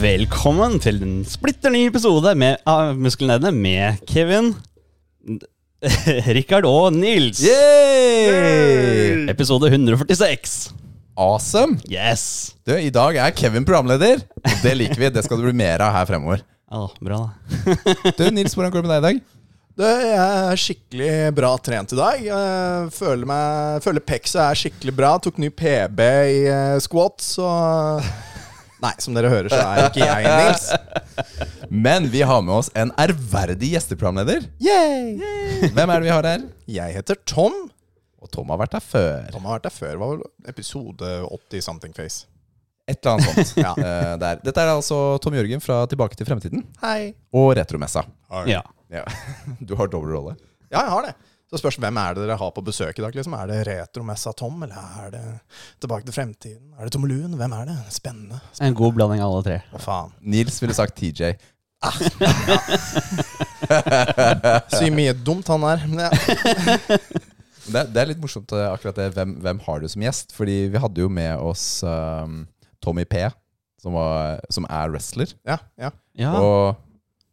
Velkommen til en splitter ny episode med, av Muskelnerdene med Kevin, Rikard og Nils. Yay! Episode 146. Awesome! Yes! Du, I dag er Kevin programleder. og Det liker vi. Det skal det bli mer av her fremover. Ja, bra, da. Du, Nils, hvordan går det med deg i dag? Du, jeg er skikkelig bra trent i dag. Jeg føler, meg, føler peksa er skikkelig bra. Tok ny PB i eh, squat, så Nei, som dere hører, så er ikke jeg Nils. Eh, Men vi har med oss en ærverdig gjesteprogramleder. Yay! Hvem er det vi har her? Jeg heter Tom. Og Tom har vært her før. Tom har vært der før. Var vel episode 80 something face. Et eller annet sånt. Ja. Eh, der. Dette er altså Tom Jørgen fra Tilbake til fremtiden Hei. og Retromessa. Ja. Ja. Du har dobbel rolle. Ja, jeg har det. Så spørs hvem er det dere har på besøk i dag. liksom? Er det retromessa Tom, eller er det Tilbake til fremtiden? Er det Tom Luen? Hvem er det? Spennende. En god blanding av alle tre. Hva faen? Nils ville sagt TJ. Sier mye dumt, han der. Men ja. Det, det er litt morsomt eh, akkurat det. Hvem, hvem har du som gjest? Fordi vi hadde jo med oss eh, Tommy P, som, var, som er wrestler. ja, ja. Ja, Og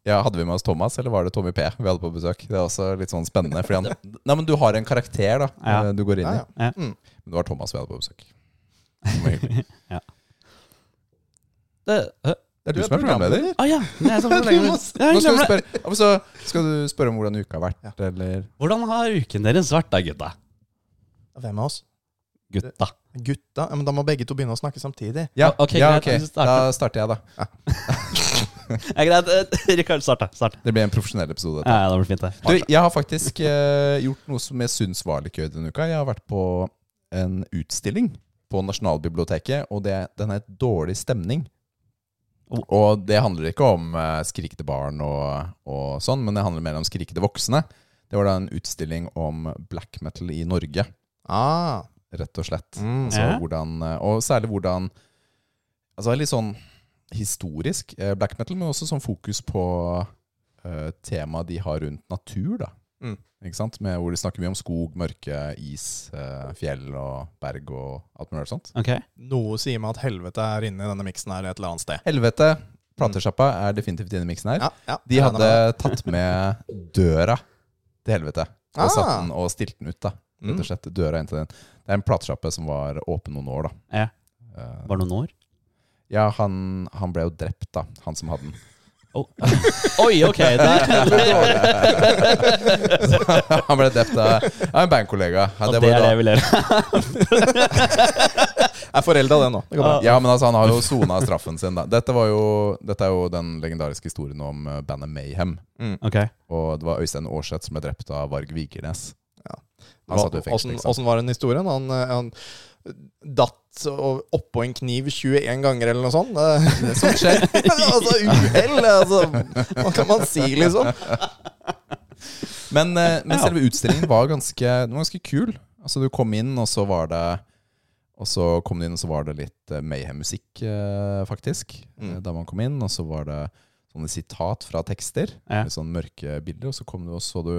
ja, hadde vi med oss Thomas, eller var det Tommy P vi hadde på besøk? Det er også litt sånn spennende. Fordi han, nei, men du har en karakter da eh, Ja. du går inn ja, i. ja. Men det var Thomas vi hadde på besøk. Det var hyggelig. det, Hæ? Det er du, som er programleder. ah, ja. Det er så Du forlenget. må- Ja, jeg Nå skal, du glemmer det. spørre, ja, men så skal du spørre om hvordan uka har vært, eller Hvordan har uken deres vært, da, gutta? Hvem av oss? Gutta. Gutta? Ja, men da må begge to begynne å snakke samtidig. Ja, Ok, ja greit, ok. vi starter. Da starter jeg, da. Ja, greit. eh, Rikard, start, da. Start. Det blir en profesjonell episode. Ja, ja, det blir fint, Du, det. jeg har faktisk eh, gjort noe som jeg syns var litt gøy denne uka. Jeg har vært på en utstilling på Nasjonalbiblioteket, og det, den het Dårlig stemning. Oh. Og det handler ikke om eh, skrikete barn og, og sånn, men det handler mer om skrikete voksne. Det var da en utstilling om black metal i Norge, Ah, rett og slett. mm. Altså, Ja. hvordan, eh, og særlig hvordan Altså litt sånn historisk eh, black metal, men også sånn fokus på eh, temaet de har rundt natur, da. Mm. Ikke sant? Med, hvor de snakker mye om skog, mørke, is, eh, fjell og berg og alt mulig sånt. Ok. Noe sier meg at helvete er inne i denne miksen her et eller annet sted. Helvete, platesjappa er definitivt inne i miksen her. Ja, ja, De jeg regner hadde med det. tatt med døra til helvete. Og Ah. satt den og stilt den ut, da. Rett Mm. og slett døra inn til den. Det er en platesjappe som var åpen noen år, da. Ja. Eh, Var det noen år? Ja, han, han ble jo drept, da. Han som hadde den. Oh. Oi, ok. Det, eh, han ble drept av av en bandkollega. Ja, det, det var jo er da- det jeg vil gjøre. Jeg er forelda, det nå. Det går bra. ja, men altså, han har jo sona straffen sin, da. Dette, var jo, dette er jo den legendariske historien om eh, bandet Mayhem. Ok. Og det var Øystein Aarseth som ble drept av Varg Vikernes. Ja. Han satt jo i fengsel, Åssen- ikke sant. Åssen var den historien? Han, eh, han datt og- oppå en kniv 21 ganger eller noe sånt. Det som skjer. altså, uhell! Altså. Hva kan man si, liksom? Men, eh, men Ja. selve utstillingen var ganske, den var ganske kul. Altså, du kom inn, og så var det og så kom du inn, og så var det litt eh, Mayhem-musikk, eh, faktisk. Mm. eh, Da man kom inn, og så var det sånne sitat fra tekster. Ja. Litt sånn mørke bilder. Og så kom du og så du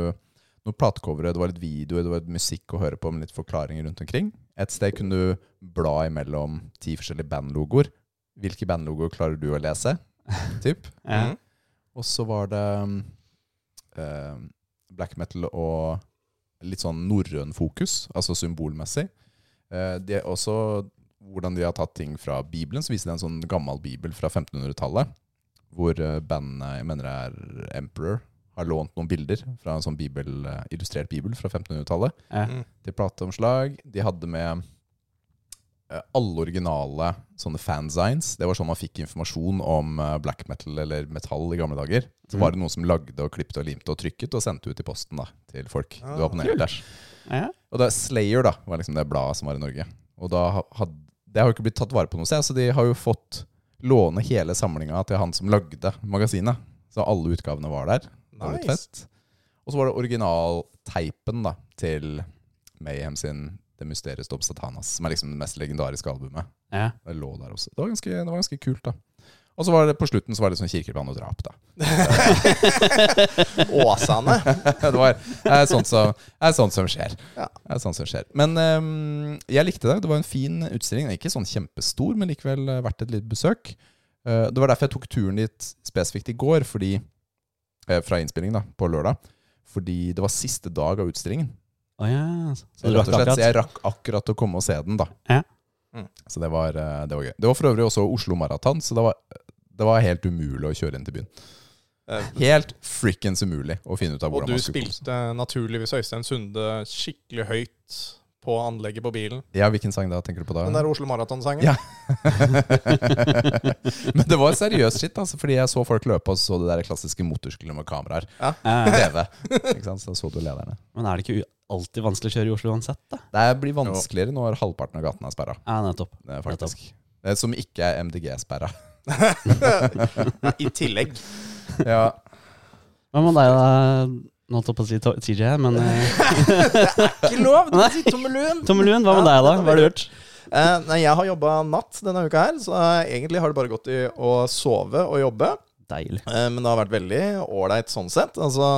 noen platecovere, det var litt videoer, det var litt musikk å høre på med litt forklaringer rundt omkring. Et sted kunne du bla imellom ti forskjellige bandlogoer. Hvilke bandlogoer klarer du å lese? Typ. Ja. Mm. Og så var det um, eh, black metal og litt sånn norrøn fokus, altså symbolmessig. Eh, det er også hvordan de har tatt ting fra Bibelen, så viser de en sånn gammel bibel fra 1500-tallet, hvor eh, bandene, jeg mener det er Emperor, har lånt noen bilder fra en sånn bibel, eh, illustrert bibel fra 1500-tallet Ja. Mm. til plateomslag. De hadde med eh, alle originale sånne fanzines. Det var sånn man fikk informasjon om eh, black metal eller metall i gamle dager. Så var det noen som lagde og klippte og limte og trykket og sendte ut i posten da, til folk. Det var på Naildash. Ja. Og det er Slayer da, var liksom det bladet som var i Norge. Og da ha- hadde, det har jo ikke blitt tatt vare på noe sted, så de har jo fått låne hele samlinga til han som lagde magasinet. Så alle utgavene var der. Det var litt Nice. fett. Og så var det originalteipen da, til Mayhem sin Det Mysterious Dob Satanas, som er liksom det mest legendariske albumet. Ja. Det lå der også. Det var ganske, det var ganske kult, da. Og så var det på slutten så var det sånn kirkeplan og drap, da. Åsane. det var det er sånt som, det er sånt som skjer. Ja. Det er sånt som skjer. Men ehm, jeg likte det. Det var en fin utstilling. Den er Ikke sånn kjempestor, men likevel eh, verdt et lite besøk. Eh, Det var derfor jeg tok turen dit spesifikt i går, fordi eh, Fra innspillingen, da, på lørdag. Fordi det var siste dag av utstillingen. Å ja. Så, Så, du rakk rett og slett, så akkurat? jeg rakk akkurat å komme og se den, da. Ja. Mm. Så det var, eh, det var gøy. Det var for øvrig også Oslo Maraton, så det var, det var helt umulig å kjøre inn til byen. Eh, Helt frikkens umulig å finne ut av Og hvordan du man skulle komme seg. spilte naturligvis Øystein Sunde skikkelig høyt på anlegget på bilen. Ja, hvilken sang da tenker du på da? Den der Oslo Maraton-sangen. Ja. Men det var seriøst shit, altså, fordi jeg så folk løpe og så det der klassiske motorsykler med kameraer. Eh, TV. Ikke sant? Så så du lederne. Men er det ikke u- alltid vanskelig å kjøre i Oslo uansett, da? Det blir vanskeligere når halvparten av gaten er sperra, Ja, nettopp. eh, faktisk. Eh, Som ikke er MDG-sperra. I tillegg. Ja. Hva med deg, da? Nå holdt jeg på å si to- TJ, men eh, Ikke lov! Nei. Si tommelun! Tommelun, hva med deg, da? Hva har du gjort? Eh, nei, jeg har jobba natt denne uka her, så eh, egentlig har det bare gått i å sove og jobbe. Deilig. Eh, men det har vært veldig ålreit sånn sett. Altså,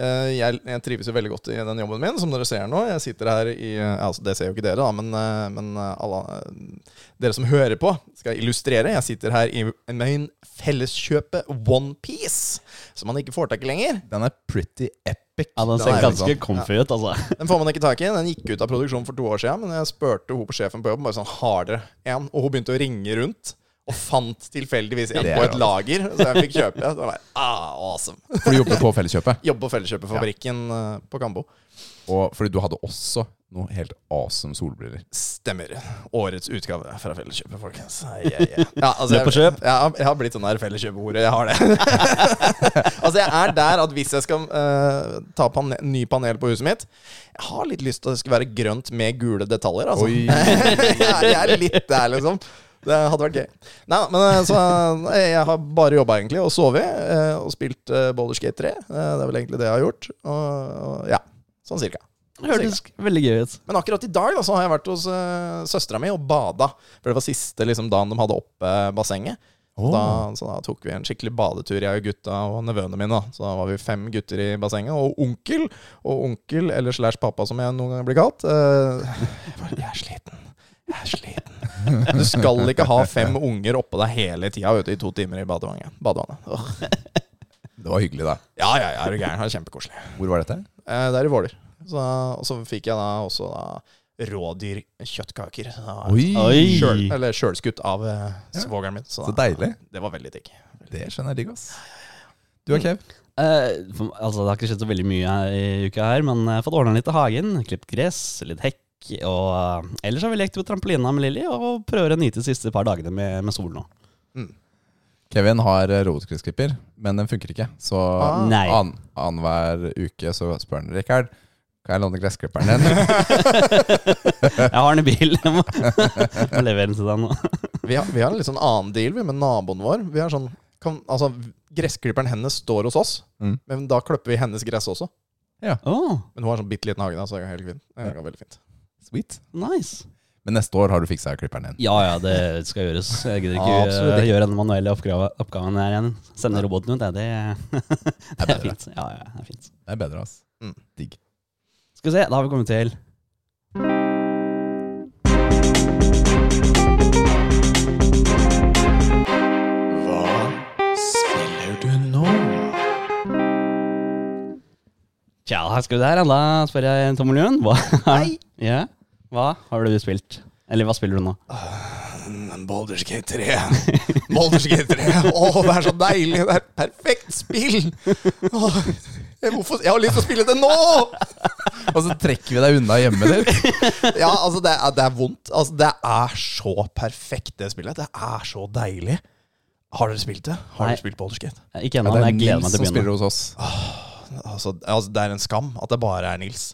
eh, jeg, jeg trives jo veldig godt i den jobben min, som dere ser nå. Jeg sitter her i eh, altså, Det ser jo ikke dere, da, men, eh, men eh, alle, eh, dere som hører på, skal illustrere. Jeg sitter her i min felleskjøpe Onepiece, som man ikke får tak i lenger. Den er pretty epic. Ja, den ser er jo ganske comfy ut, altså. Den får man ikke tak i. Den gikk ut av produksjon for to år siden, men jeg spurte hun på sjefen på jobben bare sånn, har dere en? Og hun begynte å ringe rundt. Og fant tilfeldigvis en Det er på et rart. lager, så jeg fikk kjøpe. Så jeg bare, ah, awesome. For du jobber på Felleskjøpet. Jobbe på Felleskjøperfabrikken eh, på Kambo. Og fordi du hadde også noen helt awesome solbriller. Stemmer. Årets utgave fra Felleskjøpet, folkens. Ai, ai, ai. Ja, altså, Løp og jeg- kjøp. Jeg, har- jeg har blitt sånn der Felleskjøpet-ordet. Jeg har det. altså, jeg er der at hvis jeg skal eh, ta pane ny panel på huset mitt, jeg har litt lyst til at det skal være grønt med gule detaljer, altså. Oi. jeg, jeg er litt der, liksom. Det hadde vært gøy. Nei da, men eh, så eh, jeg har bare jobba, egentlig, og sovet. eh, Og spilt eh, Baldur's Gate 3. Eh, Det er vel egentlig det jeg har gjort. Og, og ja, sånn cirka. Det hørtes veldig gøy ut. Men akkurat i dag da, så har jeg vært hos uh, søstera mi og bada. For det var siste liksom, dagen de hadde oppe bassenget. Så Da, så da tok vi en skikkelig badetur, jeg og gutta og nevøene mine. Da. Så da var vi fem gutter i bassenget, og onkel. Og onkel, eller slash pappa som jeg noen ganger blir kalt. eh, jeg bare, jeg er sliten. Jeg er sliten. Du skal ikke ha fem unger oppå deg hele tida vet du, i to timer i badevannet. badevannet. Åh. Det var hyggelig, da. Ja, ja, ja, er du gæren. Det er kjempekoselig. Hvor var dette? Eh, Det er i Våler. Så, og så fikk jeg da også da rådyrkjøttkaker. Så da- Oi. Kjøl, eller kjølskutt av eh, svogeren min. Så da- deilig. Det var veldig digg. Det skjønner jeg digg, ass. Du og Kev? Eh, for, altså, det har ikke skjedd så veldig mye her i uka her, men jeg har fått ordna litt av hagen. Klippet gress, litt hekk. Og eh, ellers har vi lekt på trampolina med Lilly og prøver å nyte de siste par dagene med, med sol nå. Mm. Kevin har eh, robotgressklipper, men den funker ikke. Så Ah. Nei. an- annenhver uke så spør han Rikard kan jeg låne gressklipperen din. Jeg har den i bilen. Jeg må, må levere den til deg nå. Vi har, vi har en litt sånn annen deal vi med naboen vår. Vi har sånn kan, altså, Gressklipperen hennes står hos oss, Mm. men da klipper vi hennes gress Oh, også. Men hun har sånn bitte liten hage, da, så det går helt fint. Det går veldig fint. Sweet. nice. Men neste år har du fiksa klipperen din. Ja ja, det skal gjøres. Jeg gidder ikke Ja, absolutt. eh, gjøre den manuelle oppgave, oppgaven her igjen. Sende roboten ut, det, det, det bedre. er fint. Ja, ja, det er fint. Det er bedre, ass. Mm. Digg. Skal vi se, da har vi kommet til Hva spiller du nå? Tja, her skal vi der. Da spør jeg Tom Oljuen. Hva, Nei. ja. hva har du spilt? Eller hva spiller du nå? Boulders Gate 3. Boulders Gate 3. Å, det er så deilig! Det er et perfekt spill! Åh, jeg- hvorfor, jeg har lyst til å spille det nå! Og så trekker vi deg unna hjemmet ditt. Ja, altså, det er, det er vondt. Altså, det er så perfekt, det spillet. Det er så deilig. Har dere spilt det? Har Nei. dere spilt Baldur's Gate? Eh, Ikke ennå, men jeg gleder meg til å som spiller begynne. hos oss. Altså, altså, det er en skam at det bare er Nils.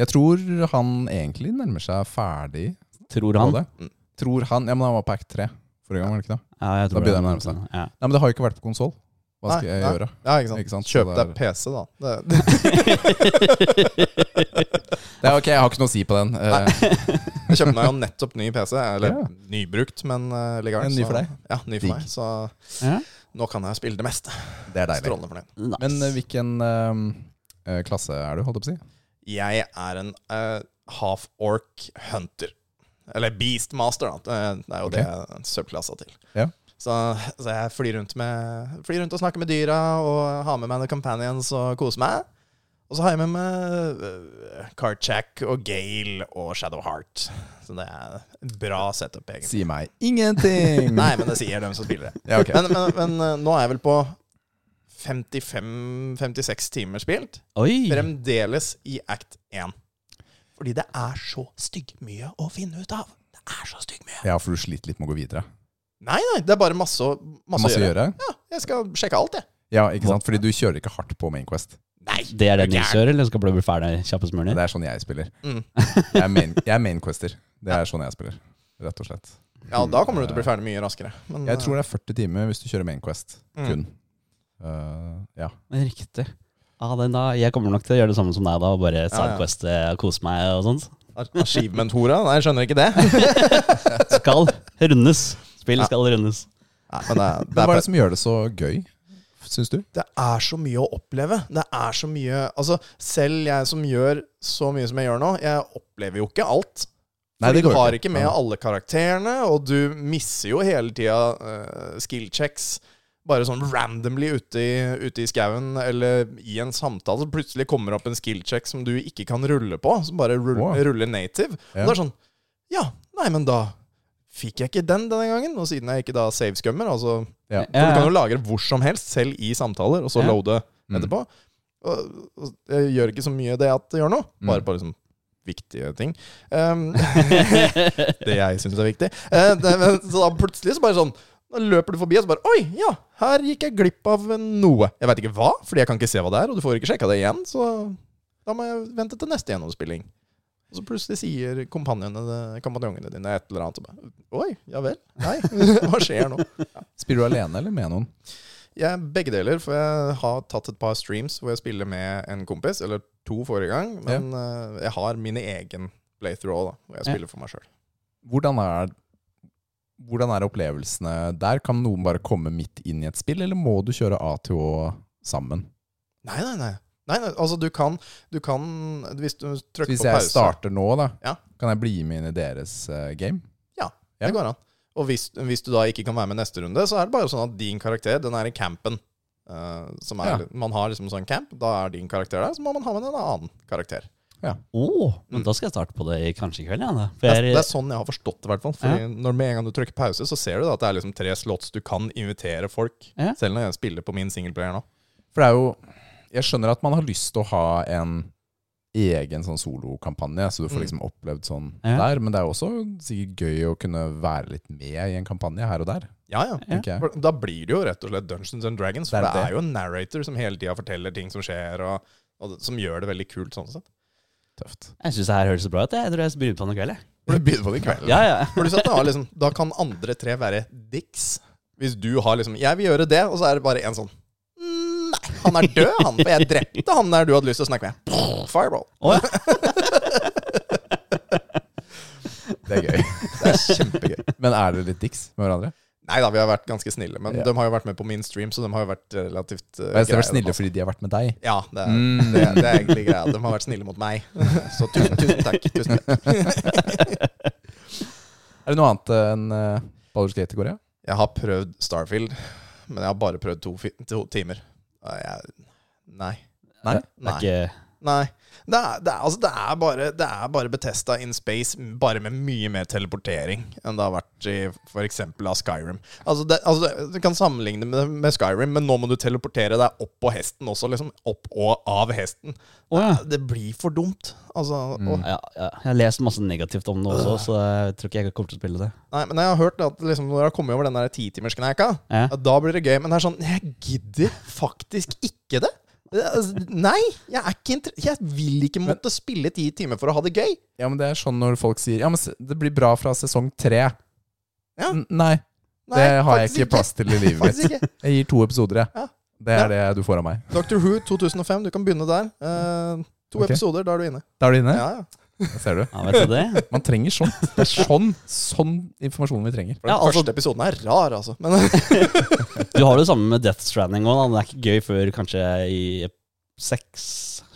Jeg tror han egentlig nærmer seg ferdig Tror på han. det. Mm. Tror han, ja, men han var på Act 3 forrige gang, var det ikke det? Ja, jeg Da tror begynner han- han å nærme Ja. Nei, men det har jo ikke vært på konsoll. Hva skal Nei, jeg nei. gjøre? Ja, ikke sant? Ikke sant? Kjøp Så deg det PC, da. Det, det. Det er, ok, jeg har ikke noe å si på den. Eh, Jeg kjøpte meg jo nettopp ny PC. Eller Ja. nybrukt, men uh, likevel. En ny så- for deg? Ja, ny for Digg. meg. Så Ja. nå kan jeg spille det meste. det er deilig. Strålende fornøyd. Nice. Men eh, hvilken eh, eh, klasse er du, holdt jeg på å si? Jeg er en eh, half-orc hunter. Eller beastmaster, da. Det er jo Ok. det subklassa til. Ja. Så, så jeg flyr rundt, med, flyr rundt og snakker med dyra og har med meg noen companions og koser meg. Og så har jeg med meg øh, Karchak og Gale og Shadowheart. Så det er en bra setup, egentlig. Si meg ingenting! Nei, men det sier dem som spiller det. Ja, ok. Men, men, men øh, nå er jeg vel på 55-56 timer spilt. Oi! Fremdeles i act 1. Mm. Fordi det er så stygg mye å finne ut av. Det er så stygg mye. Ja, for du sliter litt med å gå videre. Nei, nei, det er bare masse, å- masse, Masse å å gjøre. gjøre? Ja, jeg skal sjekke alt, jeg. Ja, ikke sant? Fordi du kjører ikke hardt på Main Quest. Nei, Det er det du Nils gæren. gjør, eller skal du bli ferdig kjappest mulig? Det er sånn jeg spiller. Mm. Jeg er, main, jeg er main quester. Det er sånn jeg spiller, rett og slett. Ja, da kommer du til å bli ferdig mye raskere. Men, Jeg tror det er 40 timer hvis du kjører Main Quest Mm. kun. Eh, ja. Riktig. Ja, Ah, den da, jeg kommer nok til å gjøre det samme som deg da, og bare sidequeste og kose meg og sånt. eh, Achievement-hora? Nei, jeg skjønner ikke det. Nei, Skal rundes. Spill skal rundes. men det, er- Men det, hva er er, det som gjør det så gøy, syns du? det er så mye å oppleve. Det er så mye Altså, selv jeg som gjør så mye som jeg gjør nå, jeg opplever jo ikke alt. Nei, Fordi det går du jo har ikke. ikke med Ja. alle karakterene, og du misser jo hele tida eh, skill checks. Bare sånn randomly ute i, ute i skauen eller i en samtale, så plutselig kommer opp en skill check som du ikke kan rulle på, som bare rull, Wow. ruller native. Ja. Og det er sånn Ja, nei, men da fikk jeg ikke den denne gangen. Og siden jeg ikke da savescummer, altså Ja. For du kan jo lagre hvor som helst, selv i samtaler, og så Ja. loade Mm. etterpå. Og, og jeg gjør ikke så mye det at det gjør noe, Mm. bare på liksom viktige ting. Um, det jeg syns er viktig. Eh, det, men, så da plutselig så bare sånn da løper du forbi, og så bare Oi, ja, her gikk jeg glipp av noe. Jeg veit ikke hva, fordi jeg kan ikke se hva det er, og du får ikke sjekka det igjen, så da må jeg vente til neste gjennomspilling. Og så plutselig sier kompanjongene kompanjongene dine et eller annet, og bare Oi, ja vel? Nei, hva skjer nå? Spiller du alene eller med noen? Jeg, begge deler, for jeg har tatt et par streams hvor jeg spiller med en kompis, eller to forrige gang, men eh, jeg har min egen playthrough også, da, hvor jeg Ja. spiller for meg sjøl. Hvordan er, hvordan er opplevelsene der? Kan noen bare komme midt inn i et spill, eller må du kjøre A til Å sammen? Nei, nei, nei. Nei, nei, altså du kan, du kan Hvis du Så trykker hvis på jeg pause starter nå, da, Ja. kan jeg bli med inn i deres eh, game? ja. Det går an. Og hvis, hvis du da ikke kan være med neste runde, så er det bare sånn at din karakter, den er i campen. eh, som er, Ja. Man har liksom sånn camp, da er din karakter der, så må man ha med en annen karakter. Åh, Oh, men da skal jeg starte på det i kanskje i kveld, ja. Da. For Det er, jeg det er, er sånn jeg har forstått det, i hvert fall. Fordi når med en gang du trykker pause, så ser du da at det er liksom tre slots du kan invitere folk. Ja. Selv når jeg spiller på min singleplayer nå. For det er jo Jeg skjønner at man har lyst til å ha en egen sånn solokampanje, så du får Mm. liksom opplevd sånn Ja. der. Men det er jo også sikkert gøy å kunne være litt med i en kampanje her og der, Ja, ja. Ja. tenker jeg. For Da blir det jo rett og slett Dungeons and Dragons. For Det det er er, det. jo en narrator som hele tida forteller ting som skjer, og, og det- som gjør det veldig kult sånn sett. Tøft. jeg syns det her høres så bra ut. Jeg Jeg tror jeg begynner på den i kveld, jeg. Får du begynne på det i kveld? Ja, ja. Pluss at det har liksom, da kan andre tre være dicks. Hvis du har liksom 'Jeg vil gjøre det', og så er det bare en sånn Nei, han er død, han. For jeg drepte han der du hadde lyst til å snakke med. Fireball. Å, ja. Det er gøy. Det er kjempegøy. Men er dere litt dicks med hverandre? Nei da, vi har vært ganske snille. Men Ja. de har jo vært med på min stream, så de har jo vært relativt uh, Og jeg ser greie, vel de snille også. fordi de har vært med deg. Ja, det er, Mm. det, det er egentlig greia. De har vært snille mot meg. Så tusen, tusen takk. Tusen takk. Er det noe annet enn uh, Baldur's Gate i Korea? Jeg har prøvd Starfield, men jeg har bare prøvd to, fi- to timer. Og Jeg, nei. Nei? Det Nei. er ikke, Nei. Det er, det, er, altså, det, er bare, det er bare Bethesda in space, bare med mye mer teleportering enn det har vært i f.eks. av Skyrim. Altså, det, altså, du kan sammenligne med, med Skyrim, men nå må du teleportere deg opp på hesten også. Liksom. Opp og av hesten. Å, ja. Mm. Det blir for dumt. Altså, og, Ja, ja. Jeg har lest masse negativt om det også, så jeg tror ikke jeg kommer til å spille det. Nei, men jeg har hørt at liksom, når jeg har kommet over den der titimerskneika, Ja. ja. da blir det gøy. Men det er sånn, jeg gidder faktisk ikke det. Det er- altså, Nei, jeg er ikke inter... Jeg vil ikke måtte spille ti timer for å ha det gøy. Ja, men det er sånn når folk sier Ja, men se- det blir bra fra sesong tre. Ja. N nei, Nei, det har jeg faktisk ikke plass til i livet mitt. Faktisk ikke. Jeg gir to episoder, jeg. Ja. Det er det du får av meg. Doctor Who 2005, du kan begynne der. Eh, to Ok. episoder, da er du inne. Da er du inne. Ja, ja. Ser du? Ja, vet du det? Man trenger sånt. Det er sånn, sånn informasjon vi trenger. For den Ja, altså- første episoden er rar, altså. Men Du har det samme med Death Stranding òg. Det er ikke gøy før kanskje i seks,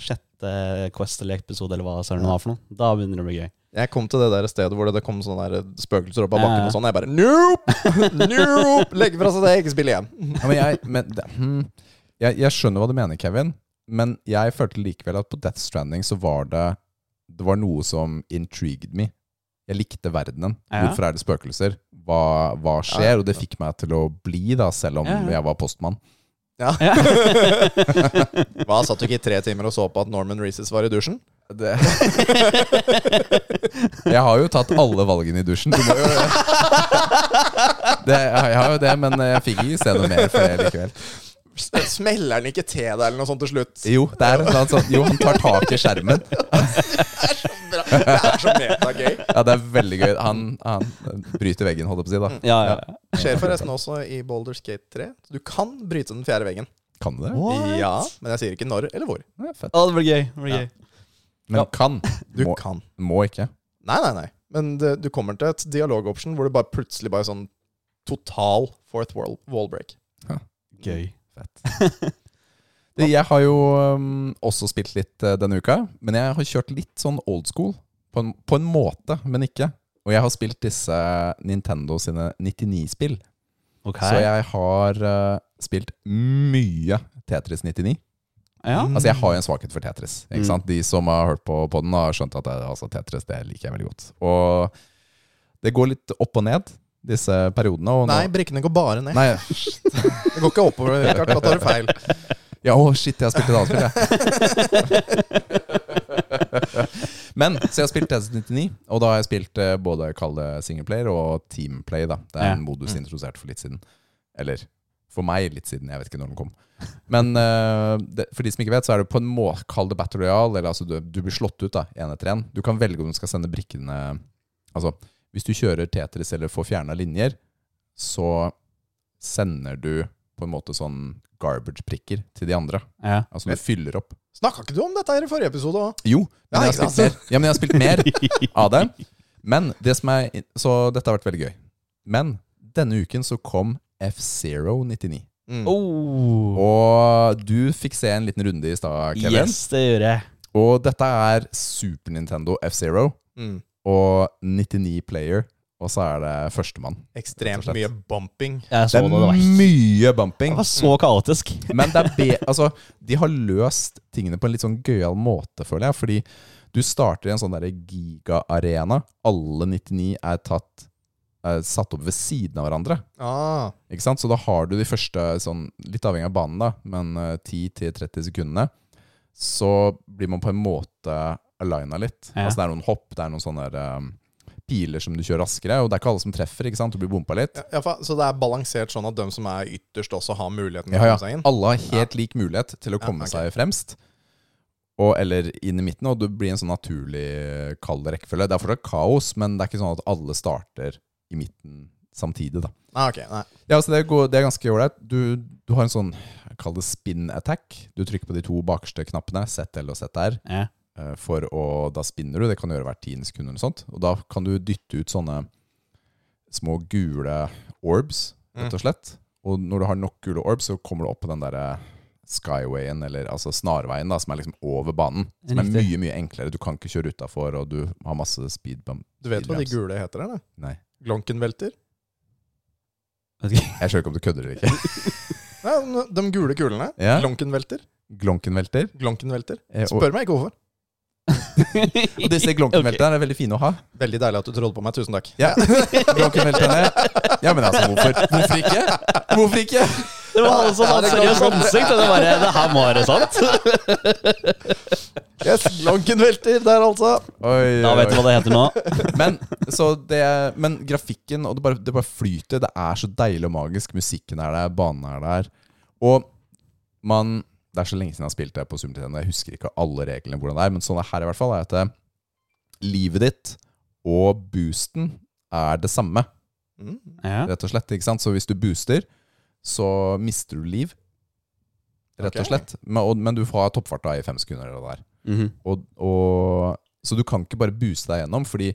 sjette Quest eller episode, eller hva søren det var for noe. Da begynner det å bli gøy. Jeg kom til det der stedet hvor det, det kom sånne der eh, spøkelser opp Ja, av ja. bakken og sånn. Jeg bare nope! nope! Legger fra seg det, ikke spill igjen. Ja, men jeg, men, det, hmm, jeg, jeg skjønner hva du mener, Kevin, men jeg følte likevel at på Death Stranding så var det Det var noe som intrigued me. Jeg likte verdenen. Ja. Hvorfor er det spøkelser? Hva, hva skjer? Og det fikk meg til å bli, da, selv om Ja, ja. jeg var postmann. Ja. Ja. Hva, satt du ikke i tre timer og så på at Norman Reeses var i dusjen? Det. Jeg har jo tatt alle valgene i dusjen. Du må jo det, Jeg har jo det, men jeg fikk ikke se noe mer for det likevel. S- Smeller han ikke til deg eller noe sånt til slutt? Jo, det er, et eller annet sånt- jo, han tar tak i skjermen. Det er så bra. Det er så metagøy. Ja, det er veldig gøy. Han, han bryter veggen, holdt jeg på å si. da ja, ja. Mm. Skjer forresten også i Baldur's Gate 3. Du kan bryte den fjerde veggen. Kan det? Ja, men jeg sier ikke når eller hvor. Det er fett. Å, det blir gøy. Det blir gøy. Men Ja. kan. Du må, kan. må ikke. Nei, nei, nei. Men det, du kommer til et dialogoption hvor det bare plutselig bare sånn total fourth wall, wall break. Gøy. Det, jeg har jo um, også spilt litt eh, denne uka, men jeg har kjørt litt sånn old school. På en, på en måte, men ikke. Og jeg har spilt disse Nintendo sine 99-spill. Ok. Så jeg har eh, spilt mye Tetris 99. ja. Altså Jeg har jo en svakhet for Tetris. Ikke Mm. sant? De som har hørt på podden, har skjønt at jeg, altså, Tetris det liker jeg veldig godt. Og det går litt opp og ned, disse periodene. Og nå- Nei, brikkene går bare ned. Nei, Det går ikke oppover. Rikard, da tar du feil. Ja, å shit, jeg har spilt et annet spill, jeg. Men, så jeg har spilt Tetris 99, og da har jeg spilt eh, både kall det singleplayer og teamplay. da Det er Ja. en modus introdusert for litt siden. Eller for meg litt siden, jeg vet ikke når den kom. Men eh, det, for de som ikke vet, så er det på en måte kall det battle royale, eller altså du, du blir slått ut da, en etter en. Du kan velge om du skal sende brikkene Altså, hvis du kjører Tetris eller får fjerna linjer, så sender du på en måte sånn garbage-prikker til de andre. ja. Altså du fyller opp. Snakka ikke du om dette her i forrige episode òg? Jo, men, Ja, jeg, har ikke spilt mer. Ja, men jeg har spilt mer av det. Men det som er Så dette har vært veldig gøy. Men denne uken så kom F099. Mm, Oh. Og du fikk se en liten runde i stad, Kevin. Yes, det gjør jeg. Og dette er Super Nintendo F0 Mm. og 99 player. Og så er det førstemann. Ekstremt Rett og mye slett. bumping. Jeg Det så det, er det var, mye Altså, det bumping. var så kaotisk. Men det er be altså, de har løst tingene på en litt sånn gøyal måte, føler jeg. Fordi du starter i en sånn derre giga-arena. Alle 99 er tatt er satt opp ved siden av hverandre. Ah. Ikke sant? Så da har du de første, sånn, litt avhengig av banen, da, men eh, 10-30 sekundene. Så blir man på en måte alina litt. Ja. Altså Det er noen hopp, det er noen sånne der, um, piler som du kjører raskere. Og det er ikke alle som treffer, ikke sant? du blir bompa litt. Ja, ja, fa- så det er balansert sånn at de som er ytterst, også har muligheten til Ja, å ja. komme seg inn? Alle har helt lik mulighet til å Ja, komme ok. seg fremst. Og, eller inn i midten, og det blir en sånn naturlig kald rekkefølge. Det er fortsatt kaos, men det er ikke sånn at alle starter i midten samtidig, da. Nei, ok. Nei. Ja, altså det, går, det er ganske ålreit. Du, du har en sånn, kall det spin attack. Du trykker på de to bakerste knappene, ZL og ZR, Ja. eh, for å Da spinner du. Det kan du gjøre hvert tiende sekund eller noe sånt. Og da kan du dytte ut sånne små gule orbs, Mm. rett og slett. Og når du har nok gule orbs, så kommer du opp på den derre skywayen, eller altså snarveien, da, som er liksom over banen. Som er Riktig. mye, mye enklere. Du kan ikke kjøre utafor, og du har masse speed bump. Du vet hva de gule heter, eller? Nei. Glonkenvelter? Vet ikke. Jeg skjønner ikke om du kødder eller ikke. Nei, de, de gule kulene. Ja. Glonkenvelter. Glonkenvelter. Glonkenvelter. eh, og- Spør meg ikke hvorfor. Og disse glonkenvelterne er veldig fine å ha. Veldig deilig at du trodde på meg. Tusen takk. Ja, glonkenvelterne. Ja, men altså, hvorfor, hvorfor ikke? Hvorfor ikke? Det var han som Ja, hadde det er seriøst klart. ansikt. og Det, bare, det her må være sant. Yes, Glonkenvelter der, altså. Oi, Da vet du hva det heter nå. Men, så det, men grafikken, og det bare, det bare flyter. Det er så deilig og magisk. Musikken er der, banen er der. Og man Det er så lenge siden jeg har spilt det på Super Nintendo. Jeg husker ikke alle reglene, hvordan det er, men sånn det er her i hvert fall, er at eh, livet ditt og boosten er det samme. Mm. Ja. rett og slett. ikke sant? Så hvis du booster, så mister du liv, rett Ok. og slett. Men, og, men du har toppfart da i fem sekunder. Eller hva det er. Mhm. og, og, så du kan ikke bare booste deg gjennom, fordi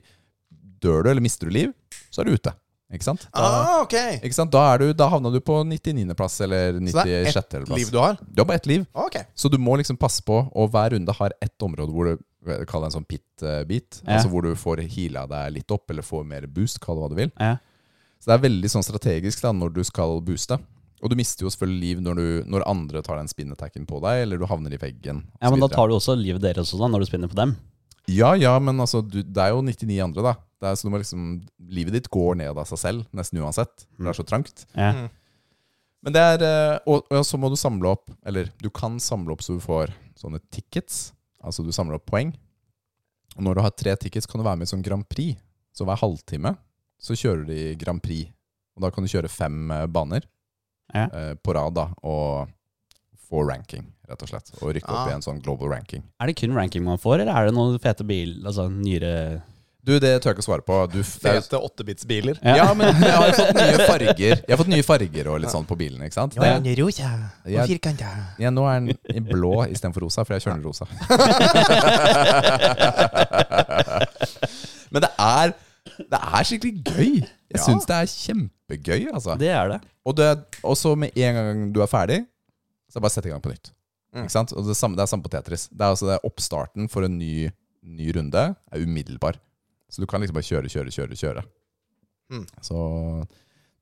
dør du eller mister du liv, så er du ute. Ikke sant? Da, Ah, ok. ikke sant? da, er du, da havna du på 99.-plass eller Så det er 96. ett plass. liv du har? Du har bare ett liv, Ok. så du må liksom passe på, og hver runde har ett område hvor du Kall det en sånn pit-bit. Ja. Altså hvor du får heala deg litt opp, eller får mer boost, kall det hva du vil. Ja. Så det er veldig sånn strategisk da, når du skal booste. Og du mister jo selvfølgelig liv når, du, når andre tar den spin-attacken på deg, eller du havner i veggen. og ja, men så da videre. tar du også livet deres og sånn når du spinner på dem. Ja, ja, men altså, du, det er jo 99 andre, da. Det er, så du må liksom, livet ditt går ned av seg selv, nesten uansett. for Det er så trangt. Ja. Mm. Men det er, eh, og, og så må du samle opp, eller du kan samle opp så du får sånne tickets. Altså du samler opp poeng. Og når du har tre tickets, kan du være med i sånn Grand Prix. Så hver halvtime så kjører de Grand Prix. Og da kan du kjøre fem eh, baner Ja. eh, på rad, da. Og få ranking, rett og slett. Og rykke opp Ah. i en sånn global ranking. Er det kun ranking man får, eller er det noen fete bil, altså nyere Du, det tør jeg ikke å svare på. Du, det er jo Fete åttebitsbiler. Ja. men jeg har jo fått nye farger Jeg har fått nye farger og litt sånn på bilen. ikke sant? Det, rosa Ja. firkanta. ja, nå er den i blå istedenfor rosa, for jeg kjører rosa. Men det er, det er skikkelig gøy. Jeg syns det er kjempegøy. altså Det er det. Og det, og så med en gang du er ferdig, så er det bare å sette i gang på nytt. Mm. Ikke sant? Og det, samme, det er samme på Tetris. Det er altså det er oppstarten for en ny, ny runde er umiddelbar. Så du kan liksom bare kjøre, kjøre, kjøre. kjøre Mm. Så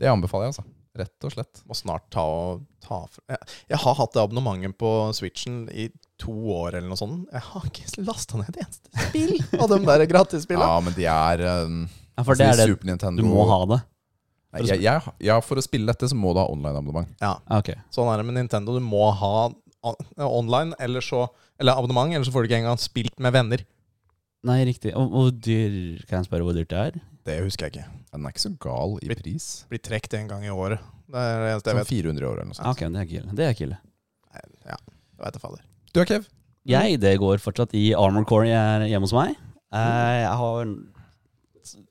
det anbefaler jeg, altså. Rett og slett. Må snart ta og ta fra jeg, jeg har hatt det abonnementet på Switchen i to år eller noe sånt. Jeg har ikke lasta ned et eneste spill av de der gratisspillene. Ja, men de er um, Ja, for det er altså, de det Super Nintendo du må ha det. Nei, jeg, jeg, ja, for å spille dette så må du ha online-abonnement. Ja. Ah, Ok. Sånn er det med Nintendo. Du må ha a- online eller, så, eller abonnement, eller så får du ikke engang spilt med venner. Nei, riktig. Og hvor dyr Kan jeg spørre hvor dyrt det er? Det husker jeg ikke. Den er ikke så gal i Litt- pris. Blir trukket en gang i året. Det er det eneste jeg Sånn vet. 400 i året eller Ah, noe sånt. Ok, men det er ikke ille. Det er ikke ille. Nei, Ja, det vet jeg fader. Du er Kev? Jeg, det går fortsatt i Armor Core jeg er hjemme hos meg. Eh, Jeg har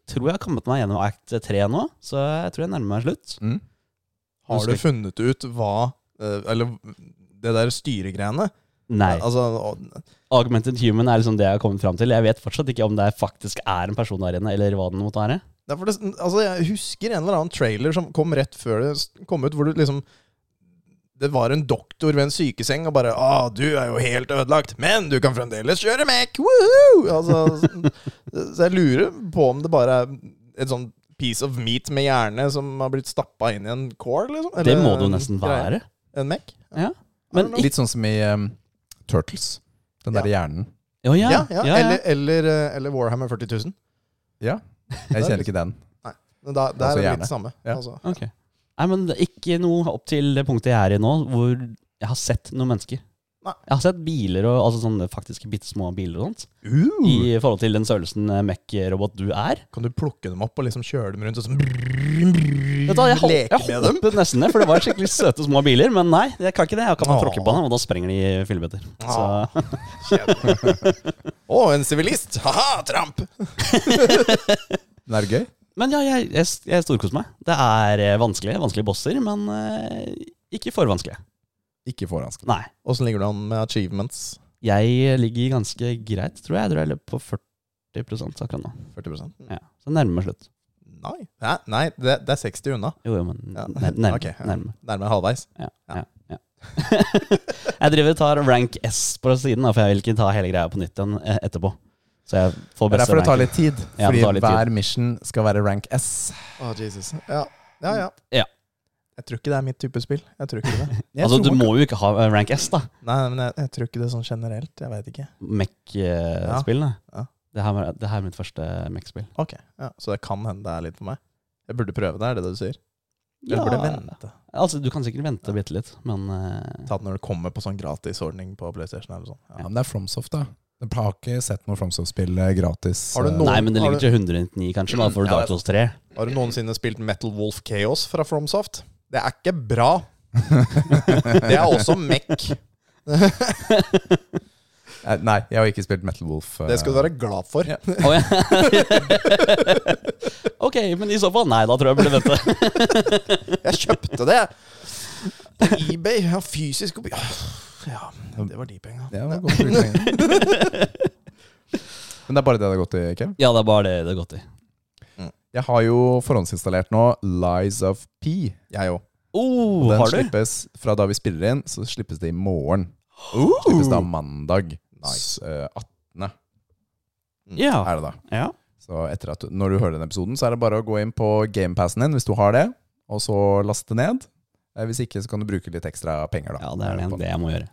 Tror jeg har kommet meg gjennom act 3 nå, så jeg tror jeg nærmer meg slutt. Mm. Har Husker du ikke. funnet ut hva eh, Eller det der styregreiene? Nei. Altså, å- Augmented human er liksom det jeg har kommet fram til. Jeg vet fortsatt ikke om det faktisk er en person der inne, eller hva den måtte være. det er for det, altså, jeg husker en eller annen trailer som kom rett før det s- kom ut, hvor du liksom Det var en doktor ved en sykeseng og bare 'Å, du er jo helt ødelagt, men du kan fremdeles kjøre Mac!' Woohoo! Altså, s- så jeg lurer på om det bare er et sånn piece of meat med hjerne som har blitt stappa inn i en core, liksom. Det eller må det jo en nesten greie. være. En Mac? Ja. Men Litt sånn som i um, Turtles. Den der hjernen. Å ja, Ja, ja, ja, ja. Eller, eller, eh, eller Warhammer 40 000. Ja. Jeg kjenner ikke den. Men Da, der Altså, er det gjerne. litt samme. Ja. Altså. Ok. Nei, men det er ikke noe opp til det punktet jeg er i nå, hvor jeg har sett noen mennesker. Nei. Jeg har sett biler, og, altså sånne faktiske bitte små biler og sånt, Uh. Mm. i forhold til den størrelsen eh, Mech-robot du er. Kan du plukke dem opp og liksom kjøre dem rundt og sånn Vet du hva, jeg, hol- Leke jeg med dem? håpet nesten det, for det var skikkelig søte små biler, men nei, jeg kan ikke det. Jeg kan bare Åh. tråkke på dem, og da sprenger de i fillebøtter. Så Åh. Å, en sivilist! Ha-ha, tramp! Den er gøy. Men ja, jeg, jeg, jeg storkoser meg. Det er eh, vanskelige, vanskelige bosser, men eh, ikke for vanskelige. Ikke forhåndsskrevet. Nei. Åssen ligger du an med achievements? Jeg ligger ganske greit, tror jeg. Jeg tror jeg løper på 40 akkurat nå. 40 Ja. Så nærmer meg slutt. Nei, Hæ? Nei det, det er 60 unna. Jo, jo, men Ja. nær- nærme. Ok, ja. nærme. Nærmere halvveis. Ja, Ja. ja. ja. jeg driver og tar rank S på siden, da, for jeg vil ikke ta hele greia på nytt igjen eh, etterpå. Så jeg får Det er beste derfor det tar rank. litt tid. Ja, det Fordi tar litt hver mission skal være rank S. Å, Jesus. Ja. ja, ja. Ja. Jeg tror ikke det er mitt type spill. Jeg tror ikke det. Jeg altså, tror du man må jo ikke ha eh, rank S, da. Nei, men jeg, jeg tror ikke det sånn generelt. Jeg veit ikke. Ja. Mech-spillene. Ja. eh, Det, her var- det her er mitt første eh, Mech-spill. Ok, ja. Så det kan hende det er litt for meg. Jeg burde prøve det, er det det du sier? Eller Ja, burde jeg vente? altså, du kan sikkert vente bitte litt, men eh, Ta det når det kommer på sånn gratisordning på PlayStation eller sånn. Ja, Ja. men det er Fromsoft, da. Jeg har ikke sett noe Fromsoft-spill eh, gratis. Har du eh, noen- Nei, men det har ligger til 199, kanskje, da, for Ja, Dark Souls 3. Har du noensinne spilt Metal Wolf Chaos fra FromSoft? Det er ikke bra. Det er også MEC. Eh, Nei, jeg har ikke spilt Metal Wolf. eh, Det skal du være glad for. Ja. Å, ja. ok, men i så fall Nei, da tror jeg jeg burde vente. Jeg kjøpte det på eBay. Jeg har fysisk kopi. Ja, det var de penga. Ja, det var godt brukt penger. Men det er bare det det har gått i, Kev. Ja, det er bare det det er godt i. Jeg har jo forhåndsinstallert nå Lies of P. Jeg òg. Oh, Den har du? slippes fra da vi spiller Uh. inn, så slippes det i morgen. Slippes da mandag. Nice. s- eh, 18. Ja. er det da. ja. Så etter at du, når du hører den episoden, så er det bare å gå inn på gamepassen din hvis du har det, og så laste ned. Eh, Hvis ikke, så kan du bruke litt ekstra penger, da. ja, det er det, det jeg må gjøre.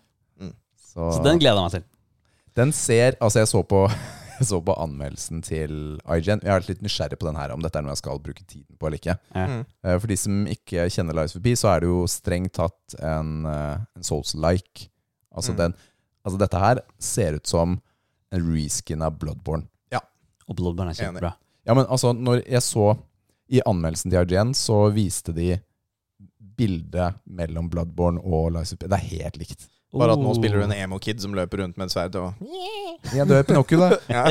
Så, Så den, den gleder jeg meg til. ser Altså, jeg så på, jeg så på anmeldelsen til iGen. Jeg har vært litt nysgjerrig på den her, om dette er noe jeg skal bruke tiden på eller ikke. Ja. Mm. Eh, For de som ikke kjenner Lies forbi, så er det jo strengt tatt en, eh, en Souls-like. Altså, Mm. den, altså dette her ser ut som en reskin av Bloodborne. Og Bloodburn er kjempebra. Ja, men altså, når jeg så I anmeldelsen til IGN så viste de bildet mellom Bloodborne og Lies forbi. Det er helt likt. Oh. Bare at nå spiller du en emo-kid som løper rundt med et sverd og Jeg dør Pinocchio, da. ja.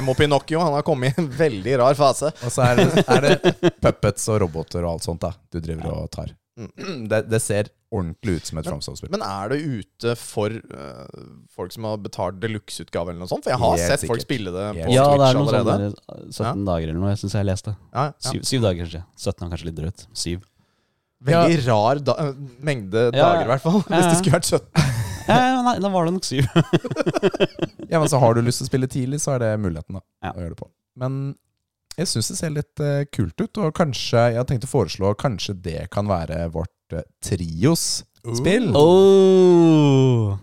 Emo-Pinocchio, han har kommet i en veldig rar fase. Og så er det, er det puppets og roboter og alt sånt da du driver og tar. Det, det ser ordentlig ut som et Fromsoft-spill. Men er det ute for eh, folk som har betalt deluxe-utgave eller noe sånt? For jeg har Helt sett folk sikkert. spille det på Helt ja, det er Twitch noe sånn allerede. der, eh, 17 dager eller noe, jeg syns jeg leste. Ja, ja. Syv, syv dager, kanskje. 17 var kanskje litt drøyt. Syv. Veldig rar da eh, mengde Ja. dager, i hvert fall. Hvis det skulle vært 17. Ja, ja, nei, da var det nok syv. Ja, men så har du lyst til å spille tidlig, så er det muligheten da Ja. å gjøre det på. Men jeg syns det ser litt eh, kult ut, og kanskje jeg har tenkt å foreslå kanskje det kan være vårt eh, Uh. trios-spill. Uh. Oh.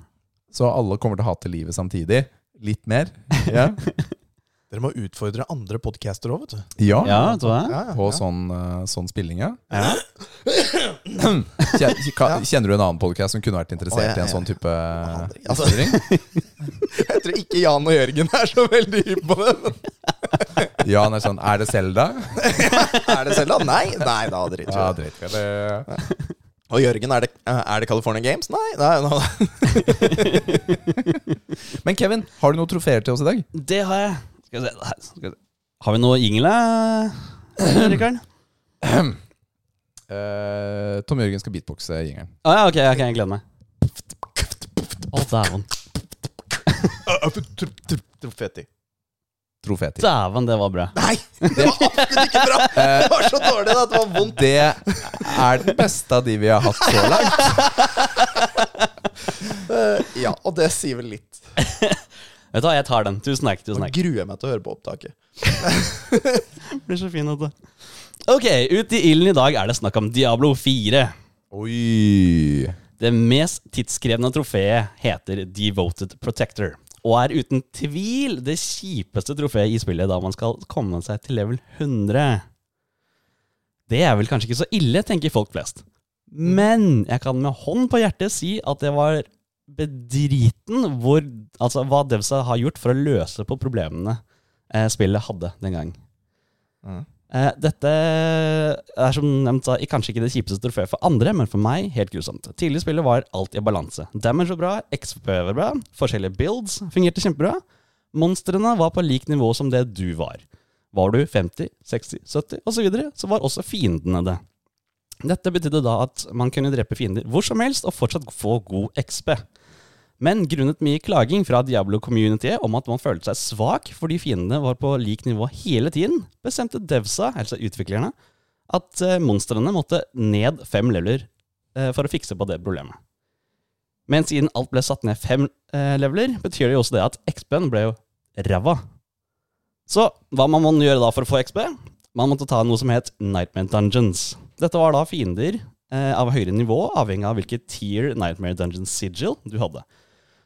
Så alle kommer til å hate livet samtidig. Litt mer. Ja, Dere må utfordre andre podcaster òg, vet du. ja, Ja, vet du hva? Ja, ja, på ja. sånn, eh, sånn spilling, ja. Ja. Kjen- ka- Kjenner du en annen podkast som kunne vært Å, interessert jeg- i en sånn type Altså- utfordring? Jeg tror ikke Jan og Jørgen er så veldig hypp på det. Ja, han er sånn Er det Selda? Er det selv, da? Nei, nei da driter Ja, vi i det. drit i det. Og Jørgen, er det, eh, er det California Games? Nei, nei, nei. Men Kevin, har du noen trofeer til oss i dag? Det har jeg. Skal vi se. Her, Skal vi se. Har vi noe jingle, eh, Rikard? Eh, Tom Jørgen skal beatboxe jingeren. Å ja, ok, ok, jeg gleder meg. Å, dæven. Trofetti. Trofeer til. Dæven, det var bra. Nei! Det var absolutt ikke bra! Det var så dårlig at det var vondt. Eh, Det er den beste av de vi har hatt så langt. Eh, Ja, og det sier vel litt. Vet du hva, jeg tar den. Tusen takk. tusen Nå takk gruer jeg meg til å høre på opptaket. blir så fin at det Ok, ut i ilden i dag er det snakk om Diablo 4. Oi. Det mest tidskrevne trofeet heter Devoted Protector. Og er uten tvil det kjipeste trofeet i spillet da man skal komme seg til level 100. Det er vel kanskje ikke så ille, tenker folk flest. Men jeg kan med hånd på hjertet si at det var bedriten hvor, altså, hva Devsa har gjort for å løse på problemene eh, spillet hadde den gang. Mhm. Eh, dette er som nevnt da, kanskje ikke det kjipeste trofeet for andre, men for meg helt grusomt. Tidligere spillet var alt i balanse. Damage var bra, XP var bra, forskjellige builds fungerte kjempebra. Monstrene var på lik nivå som det du var. Var du 50, 60, 70 osv., så, videre, så var også fiendene det. Dette betydde da at man kunne drepe fiender hvor som helst og fortsatt få god XP. Men grunnet mye klaging fra Diablo-communityet om at man følte seg svak fordi fiendene var på lik nivå hele tiden, bestemte Devsa, altså utviklerne, at eh, monstrene måtte ned fem leveler eh, for å fikse på det problemet. Men siden alt ble satt ned fem eh, leveler, betyr det jo også det at XP-en ble jo ræva. Så hva man må gjøre da for å få XP? Man måtte ta noe som het Nightmare Dungeons. Dette var da fiender eh, av høyere nivå, avhengig av hvilket tier Nightmare Dungeon sigil du hadde.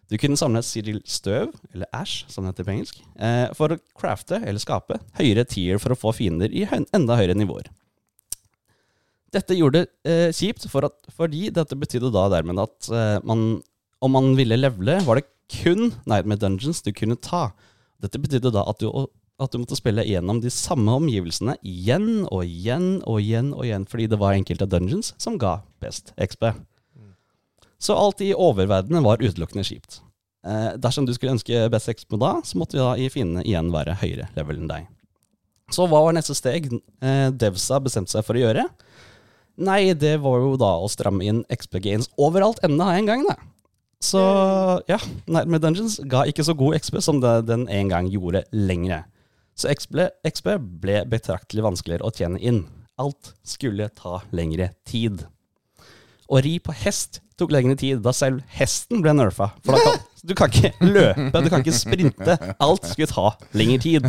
Du kunne samle sigil støv, eller ash, som det heter på engelsk, eh, for å crafte, eller skape, høyere tier for å få fiender i hø enda høyere nivåer. Dette gjorde det eh, kjipt, for at, fordi dette betydde da dermed at eh, man, om man ville levele, var det kun Nightmare Dungeons du kunne ta. Dette betydde da at du, at du måtte spille gjennom de samme omgivelsene igjen og igjen og igjen og igjen, fordi det var enkelte dungeons som ga best XP. Så alt i oververdenen var utelukkende kjipt. Eh, dersom du skulle ønske best XP da, så måtte da i fiendene igjen være høyere level enn deg. Så hva var neste steg eh, Devsa bestemte seg for å gjøre? Nei, det var jo da å stramme inn XP-gains overalt enda en gang, da. Så ja, Nightmare Dungeons ga ikke så god XP som det den en gang gjorde lengre. Så XP, XP ble betraktelig vanskeligere å tjene inn. Alt skulle ta lengre tid. Å ri på hest tok lengre tid, da selv hesten ble nerfa. For da kan, du kan ikke løpe, du kan ikke sprinte. Alt skulle ta lengre tid.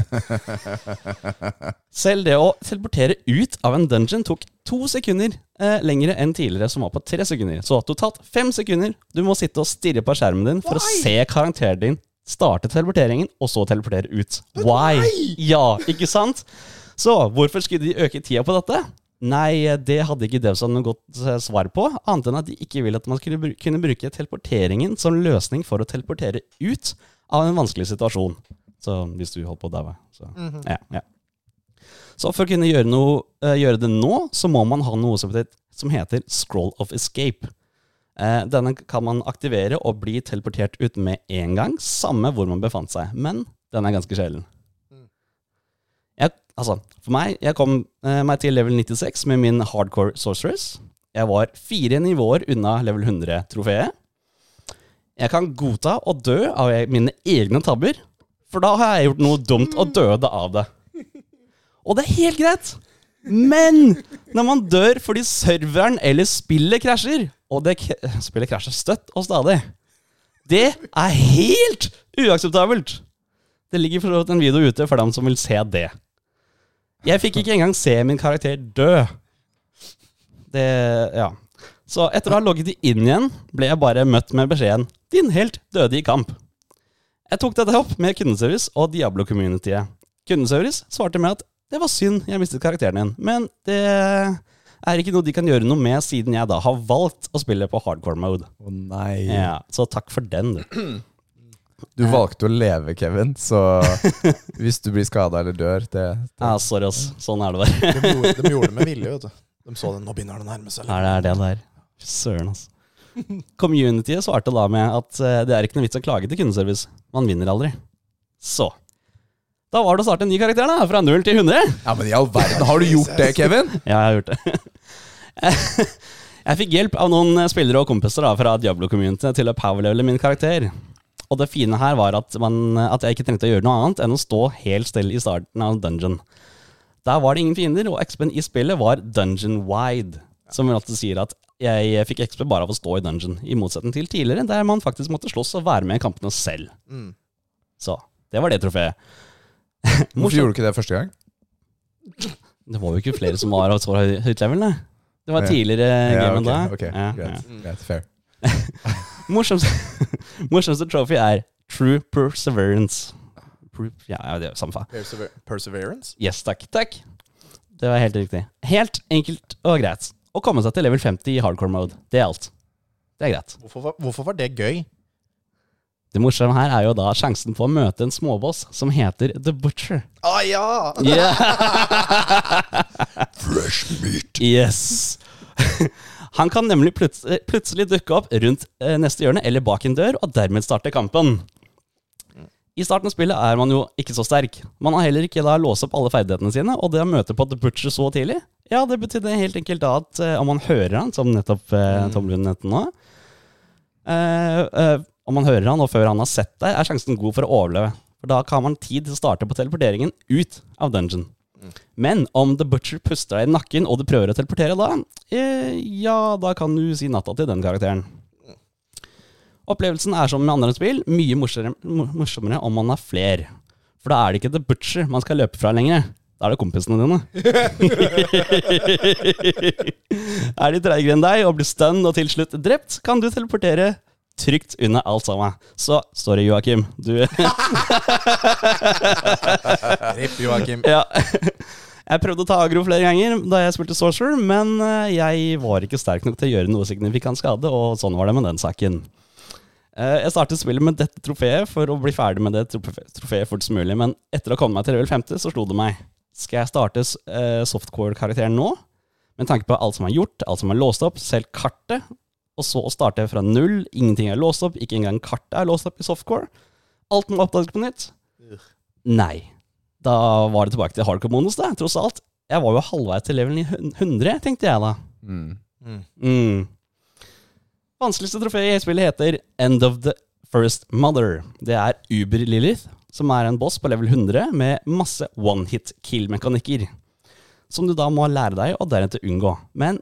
Selv det å teleportere ut av en dungeon tok to sekunder eh, lengre enn tidligere, som var på tre sekunder. Så totalt fem sekunder. Du må sitte og stirre på skjermen din for å se karakteren din starte teleporteringen, og så teleportere ut. Why? Ja, ikke sant? Så hvorfor skulle de øke tida på dette? Nei, det hadde ikke Devson noe godt eh, svar på, annet enn at de ikke ville at man skulle bru- kunne bruke teleporteringen som løsning for å teleportere ut av en vanskelig situasjon. Så hvis du holdt på å daue. Så. ja, ja. så for å kunne gjøre, noe, eh, gjøre det nå, så må man ha noe som heter, som heter scroll of escape. Eh, Denne kan man aktivere og bli teleportert ut med en gang, samme hvor man befant seg. Men den er ganske sjelden. Jeg, altså, for meg, jeg kom eh, meg til level 96 med min hardcore sorceress. Jeg var fire nivåer unna level 100-trofeet. Jeg kan godta å dø av jeg- mine egne tabber, for da har jeg gjort noe dumt og døde av det. Og det er helt greit. Men når man dør fordi serveren eller spillet krasjer, og det k spillet krasjer støtt og stadig, det er helt uakseptabelt. Det ligger for så vidt en video ute for dem som vil se det. Jeg fikk ikke engang se min karakter dø. Det Ja. Så etter å ha logget inn igjen, ble jeg bare møtt med beskjeden 'Din helt døde i kamp'. Jeg tok dette opp med kundeservice og Diablo-communityet. Kundeservice svarte med at 'det var synd jeg mistet karakteren din', men det er ikke noe de kan gjøre noe med, siden jeg da har valgt å spille på hardcore mode. Å nei. Ja, så takk for den, du. Du valgte å leve, Kevin, så hvis du blir skada eller dør, det, det Ja, sorry, ass. Sånn er det bare. De gjorde, de gjorde det med vilje, vet du. De så det. Nå begynner det å nærme seg. Ja, det er det det er. Fy Søren, altså. Communityet svarte da med at eh, det er ikke noe vits å klage til kundeservice. Man vinner aldri. Så. Da var det å starte en ny karakter, da. Fra 0 til 100. Ja, men i all verden, har du gjort det, Kevin? Ja, jeg har gjort det. Jeg fikk hjelp av noen spillere og kompiser da, fra Diablo-communityet til å powerlevele min karakter. Og det fine her var at, man, at jeg ikke trengte å gjøre noe annet enn å stå helt stille i starten av dungeon. Der var det ingen fiender, og XP-en i spillet var dungeon-wide. Som vel alltid sier at jeg fikk XP bare av å stå i dungeon, i motsetning til tidligere, der man faktisk måtte slåss og være med i kampene selv. Mm. Så det var det trofeet. Hvorfor gjorde du ikke det første gang? Det var jo ikke flere som var av så høy- høyt level, nei. Det var Ja. tidligere game enn ok, da. ok, Ja, ja. greit, Mm. greit, fair. Morsomste, morsomste trophy er True Perseverance. Pro- Ja, ja, det er samme faen. Persever Perseverance? Yes, takk. Takk. Det var helt riktig. Helt enkelt og greit. Å komme seg til level 50 i hardcore mode. Det er alt. Det er greit. Hvorfor, var- hvorfor var det gøy? Det morsomme her er jo da sjansen på å møte en småboss som heter The Butcher. Å ah, ja! Fresh meat. Yes. Han kan nemlig plut plutselig dukke opp rundt eh, neste hjørne eller bak en dør, og dermed starte kampen. I starten av spillet er man jo ikke så sterk. Man har heller ikke da låst opp alle ferdighetene sine, og det å møte på The Butcher så tidlig, ja, det betydde helt enkelt da at eh, om man hører han, som nettopp Mm. eh, Tom Lund nevnte nå eh, eh, Om man hører han, og før han har sett deg, er sjansen god for å overleve. For da kan man tid til å starte på teleporteringen ut av dungeon. Men om The Butcher puster deg i nakken og du prøver å teleportere da, eh, ja, da kan du si natta til den karakteren. Opplevelsen er som med andre spill, mye morsommere, mo- morsommere om man er fler. For da er det ikke The Butcher man skal løpe fra lenger. Da er det kompisene dine. er de treigere enn deg og blir stønn og til slutt drept, kan du teleportere trygt unna alt sammen. Så sorry, Joakim. Du Ripp, Joakim. Ja. Jeg prøvde å ta agro flere ganger da jeg spilte Sorcerer, men eh, jeg var ikke sterk nok til å gjøre noe signifikant skade, og sånn var det med den saken. Eh, Jeg startet spillet med dette trofeet for å bli ferdig med det trofe- trofeet fortest mulig, men etter å komme meg til level 50, så slo det meg. Skal jeg starte s- eh, softcore-karakteren nå? Med tanke på alt som er gjort, alt som er låst opp, selv kartet, og så å starte fra null, ingenting er låst opp, ikke engang kartet er låst opp i softcore. Alt må oppdages på nytt. Nei da var det tilbake til hardcore bonus, da, tross alt. Jeg var jo halvveis til level 100, tenkte jeg da. Mm. Mm. Vanskeligste trofé i spillet heter End of the First Mother. Det er Uber Lilith, som er en boss på level 100 med masse one-hit kill-mekanikker. Som du da må lære deg og deretter unngå. Men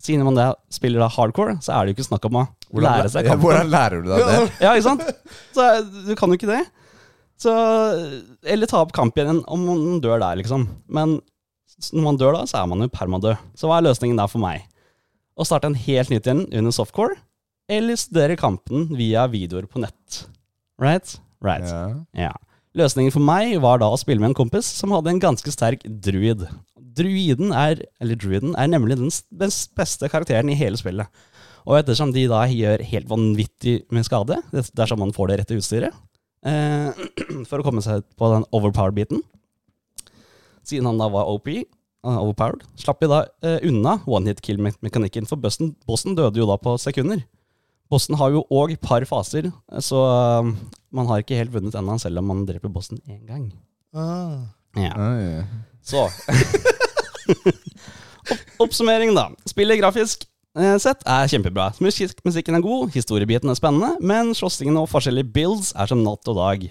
Siden man da spiller da hardcore, så er det jo ikke snakk om å lære seg ja, kampen. hvordan lærer du deg det? Ja, ikke sant? Så eh, du kan jo ikke det. Så, eller ta opp kamp igjen om man dør der, liksom. Men s- når man dør da, så er man jo permadød. Så hva er løsningen da for meg? Å starte en helt nytt igjen under softcore, eller studere kampen via videoer på nett. Right? Right. Ja. Ja. Løsningen for meg var da å spille med en kompis som hadde en ganske sterk druid. Druiden er, eller druiden er nemlig den s- best- beste karakteren i hele spillet. Og ettersom de da gjør helt vanvittig med skade, det- dersom man får det rette utstyret, eh, for å komme seg på den overpowered-biten, siden han da var OP, eh, overpowered, slapp vi da eh, unna one-hit-kill-mekanikken, for bossen, bossen døde jo da på sekunder. Bossen har jo òg par faser, så eh, man har ikke helt vunnet ennå, selv om man dreper bossen én gang. Ah. Ja. Oi. Så Opp- Oppsummering, da. Spillet grafisk eh, sett er kjempebra. Musikk, musikken er god, historiebiten er spennende, men slåssingen og forskjellige builds er som natt og dag.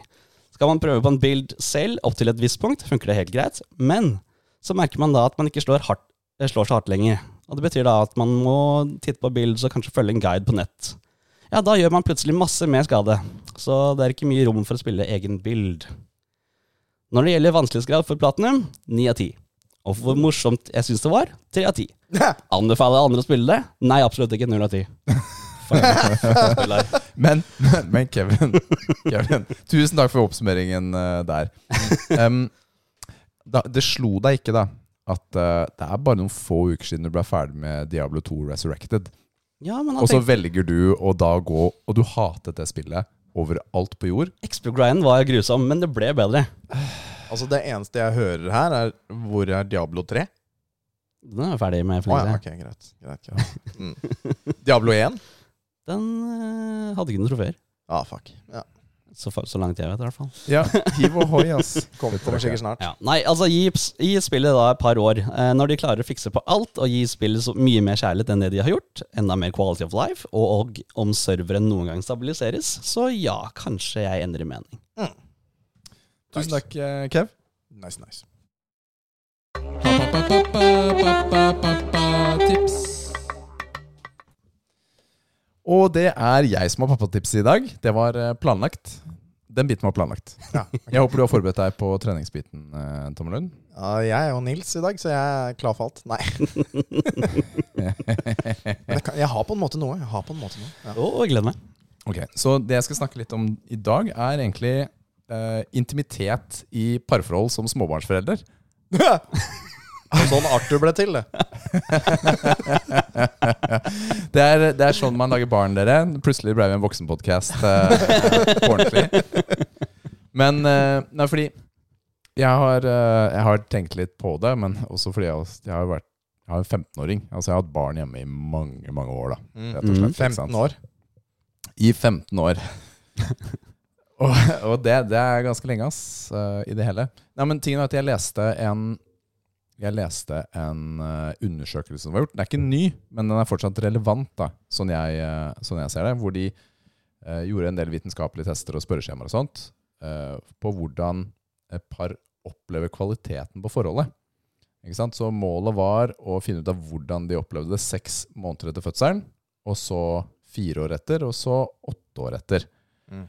Skal man prøve på en build selv opp til et visst punkt, funker det helt greit, men så merker man da at man ikke slår, hardt, eh, slår så hardt lenger. Og det betyr da at man må titte på builds og kanskje følge en guide på nett. Ja, da gjør man plutselig masse mer skade, så det er ikke mye rom for å spille egen build. Når det gjelder vanskelighetsgrad for platinum, 9 av 10. Og for hvor morsomt jeg syns det var, 3 av 10. Anbefaler andre å spille det? Nei, absolutt ikke. 0 av 10. Men, men Kevin, Kevin, tusen takk for oppsummeringen eh, der. Em, da, det slo deg ikke, da, at eh, det er bare noen få uker siden du ble ferdig med Diablo 2 Resurrected. Ja, men altså, Og han så tenkte velger du å da gå Og du hatet det spillet overalt på jord. XP-grinden var grusom, men det ble bedre. Altså, det eneste jeg hører her, er Hvor er Diablo 3? Den er jeg ferdig med for Å lenge ja, siden. ok, greit. greit, greit. Mm. Diablo 1? Den eh, hadde ikke noen trofeer. Ah, fuck. Ja. Så, fa- så langt jeg vet, i hvert fall. Ja, hiv og hoi, ass. sånn. Kom, Dette rekker kommer jeg. sikkert snart. Ja. Nei, altså, gi, ps- gi spillet da et par år. Eh, når de klarer å fikse på alt, og gi spillet så mye mer kjærlighet enn det de har gjort, enda mer quality of life, og, og om serveren noen gang stabiliseres, så ja, kanskje jeg endrer mening. Tusen takk, eh, Kev. Mm. Nice, nice. Og det er jeg som har pappatipset i dag. Det var eh, planlagt. Den biten var planlagt. Ja, Jeg håper du har forberedt deg på treningsbiten, eh, Tom Lund. Ja, jeg er jo Nils i dag, så jeg er klar for alt. Nei. Men jeg, kan, jeg har på en måte noe. Jeg har på en måte noe. Ja. Å, gleder meg. Ok, Så det jeg skal snakke litt om i dag, er egentlig eh, intimitet i parforhold som småbarnsforelder. Det var sånn Arthur ble til, det. Det er, det er sånn man lager barn, dere. Plutselig ble vi en voksenpodkast eh, på ordentlig. Men eh, Nei, fordi jeg har, eh, jeg har tenkt litt på det, men også fordi jeg, har- jeg har vært jeg har en 15-åring. Altså, jeg har hatt barn hjemme i mange, mange år, da. Mm. Rett og slett. ikke sant? 15 år. I 15 år. og og det, det er ganske lenge, ass, eh, i det hele. Nei, men tingen er at jeg leste en jeg leste en eh, undersøkelse som var gjort. Den er ikke ny, men den er fortsatt relevant, da, sånn jeg, eh, sånn jeg ser det. Hvor de eh, gjorde en del vitenskapelige tester og spørreskjemaer og sånt eh, på hvordan et par opplever kvaliteten på forholdet. Ikke sant? Så målet var å finne ut av hvordan de opplevde det seks måneder etter fødselen og så fire år etter, og så åtte år etter. Mm.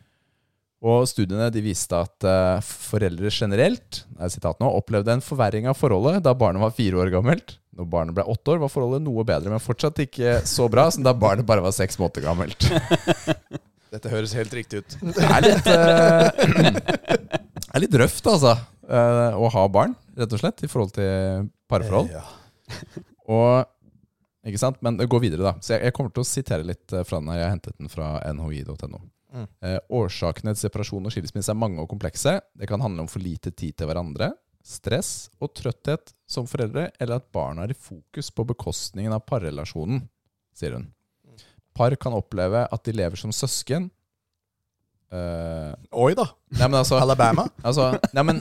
Og studiene de viste at eh, foreldre generelt er et sitat nå, opplevde en forverring av forholdet da barnet var fire år gammelt. Når barnet ble åtte år, var forholdet noe bedre, men fortsatt ikke så bra som da barnet bare var seks måneder gammelt. Dette høres helt riktig ut. Det er litt, eh, det er litt røft, altså, eh, å ha barn, rett og slett, i forhold til parforhold. Ja. Og, ikke sant? Men det går videre, da. Så jeg, jeg kommer til å sitere litt eh, fra den her. Jeg har hentet den fra nhi.no. Mm. Eh, årsakene til separasjon og skilsmisse er mange og komplekse. Det kan handle om for lite tid til hverandre, stress og trøtthet som foreldre, eller at barna er i fokus på bekostningen av parrelasjonen, sier hun. Par kan oppleve at de lever som søsken. Eh, Oi da. nei, men altså, Alabama? altså nei, men,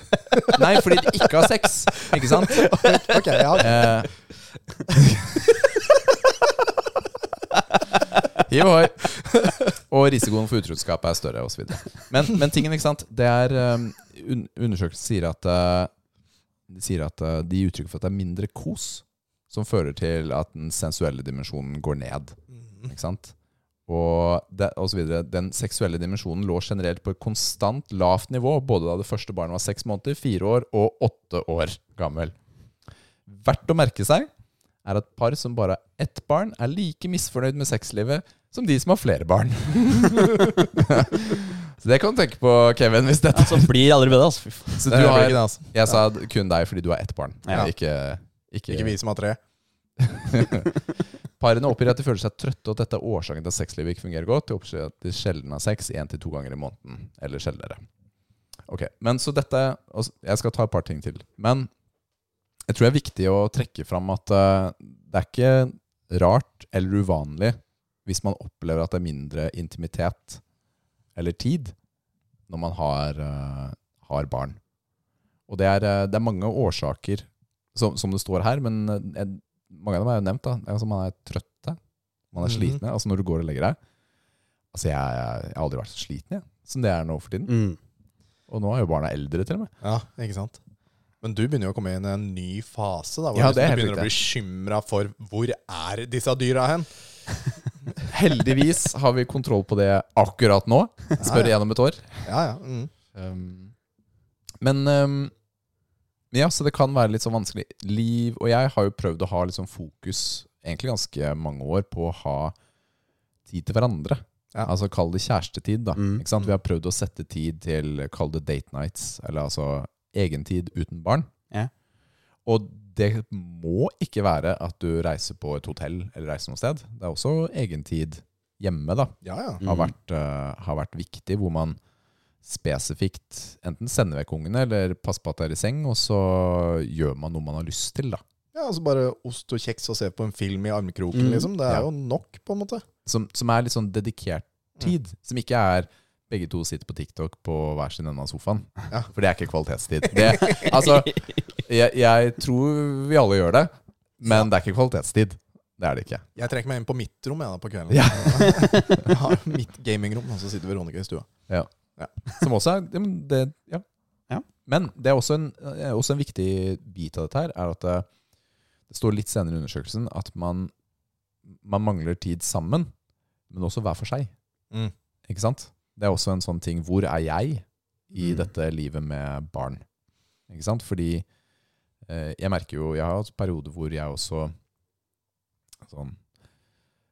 nei, fordi de ikke har sex, ikke sant? Ok, ja. Eh. Hiv ohoi. Og risikoen for utroskap er større, osv. Men, men tingen, ikke sant Det er um, un- Undersøkelser sier at eh, De sier at eh, de gir uttrykk for at det er mindre kos som fører til at den sensuelle dimensjonen går ned. Ikke sant? Og, det, og så videre. Den seksuelle dimensjonen lå generelt på et konstant lavt nivå, både da det første barnet var seks måneder, fire år og åtte år gammel. Verdt å merke seg er at par som bare har ett barn, er like misfornøyd med sexlivet som de som har flere barn. så det kan du tenke på, Kevin, hvis dette Så blir det aldri bedre, altså. Fy faen. Så Det du blir har ikke det, altså. Jeg sa kun deg fordi du har ett barn. Ja. Ikke, ikke, Ikke vi som har tre. Parene oppgir at de føler seg trøtte, og at dette er årsaken til at sexlivet ikke fungerer godt. De oppgir at de sjelden har sex én til to ganger i måneden, eller sjeldnere. Ok, men så dette og s- Jeg skal ta et par ting til. Men jeg tror det er viktig å trekke fram at eh, det er ikke rart eller uvanlig hvis man opplever at det er mindre intimitet eller tid når man har, eh, har barn. Og det er, eh, det er mange årsaker, som, som det står her, men eh, en- mange av dem er jo nevnt. da. Altså, man er trøtte, man er Mhm. slitne. Altså når du går og legger deg. Altså jeg, jeg har aldri vært så sliten jeg, som det er nå for tiden. Mm. Og nå er jo barna eldre til og med. Ja, ikke sant? Men du begynner jo å komme inn i en ny fase. da, hvor Ja, du liksom det er helt begynner å bli bekymra for hvor er disse dyra hen? Heldigvis har vi kontroll på det akkurat nå. Spør ja. igjennom et år. Ja, ja. Mm. Um, men um, ja, så det kan være litt sånn vanskelig. Liv og jeg har jo prøvd å ha litt sånn fokus egentlig ganske mange år på å ha tid til hverandre. Ja. Altså kall det kjærestetid, da. Mm. Ikke sant? Vi har prøvd å sette tid til kall det date nights, eller altså egentid uten barn. Ja. Og det må ikke være at du reiser på et hotell eller reiser noe sted. Det er også egentid hjemme, da ja, ja. har, Mm. vært, eh, har vært viktig, hvor man spesifikt enten sender vekk ungene eller passer på at det er i seng, og så gjør man noe man har lyst til. da. Ja, altså Bare ost og kjeks og se på en film i armkroken, Mm. liksom. Det er Ja. jo nok, på en måte. Som, som er litt sånn dedikert Mm. tid. Som ikke er begge to sitter på TikTok på hver sin ende av sofaen. Ja. For det er ikke kvalitetstid. Det, altså, jeg, jeg tror vi alle gjør det, men det er ikke kvalitetstid. Det er det ikke. Jeg trekker meg inn på mitt rom jeg, da, på kvelden. Ja. Jeg har mitt gamingrom, og så sitter Veronica i stua. Som også er ja, men det, ja. Ja. Men det er også en, eh, også en viktig bit av dette her, er at eh, det står litt senere i undersøkelsen at man, man mangler tid sammen, men også hver for seg. Mm. Ikke sant? Det er også en sånn ting Hvor er jeg i Mm. dette livet med barn? Ikke sant? Fordi eh, jeg merker jo Jeg har hatt perioder hvor jeg også sånn,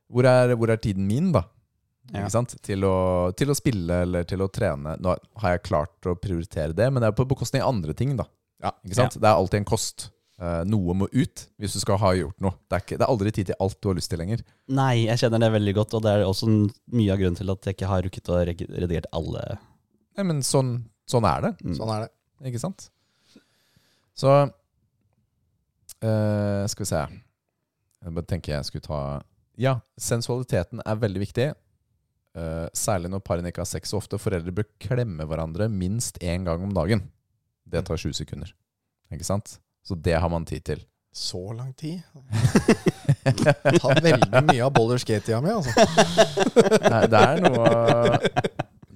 hvor, er, hvor er tiden min, da? Ja. Ikke sant? Til å, til å spille eller til å trene. Nå har jeg klart å prioritere det, men det er på bekostning av andre ting, da. Ja. Ikke sant? Det er alltid en kost. Eh, noe må ut hvis du skal ha gjort noe. Det er, ikke, det er aldri tid til alt du har lyst til lenger. Nei, jeg kjenner det veldig godt, og det er også en- mye av grunnen til at jeg ikke har rukket å reg- redigert alle. Nei, men sånn, sånn er det, Mm. Sånn er det. ikke sant? Så eh, Skal vi se Jeg bare tenker jeg skulle ta Ja, sensualiteten er veldig viktig. Eh, særlig når parene ikke har sex så ofte. Foreldre bør klemme hverandre minst én gang om dagen. Det tar 20 sekunder. Ikke sant? Så det har man tid til. Så lang tid. Ta veldig mye av Boulder Skate-tida mi, altså. Nei, det er noe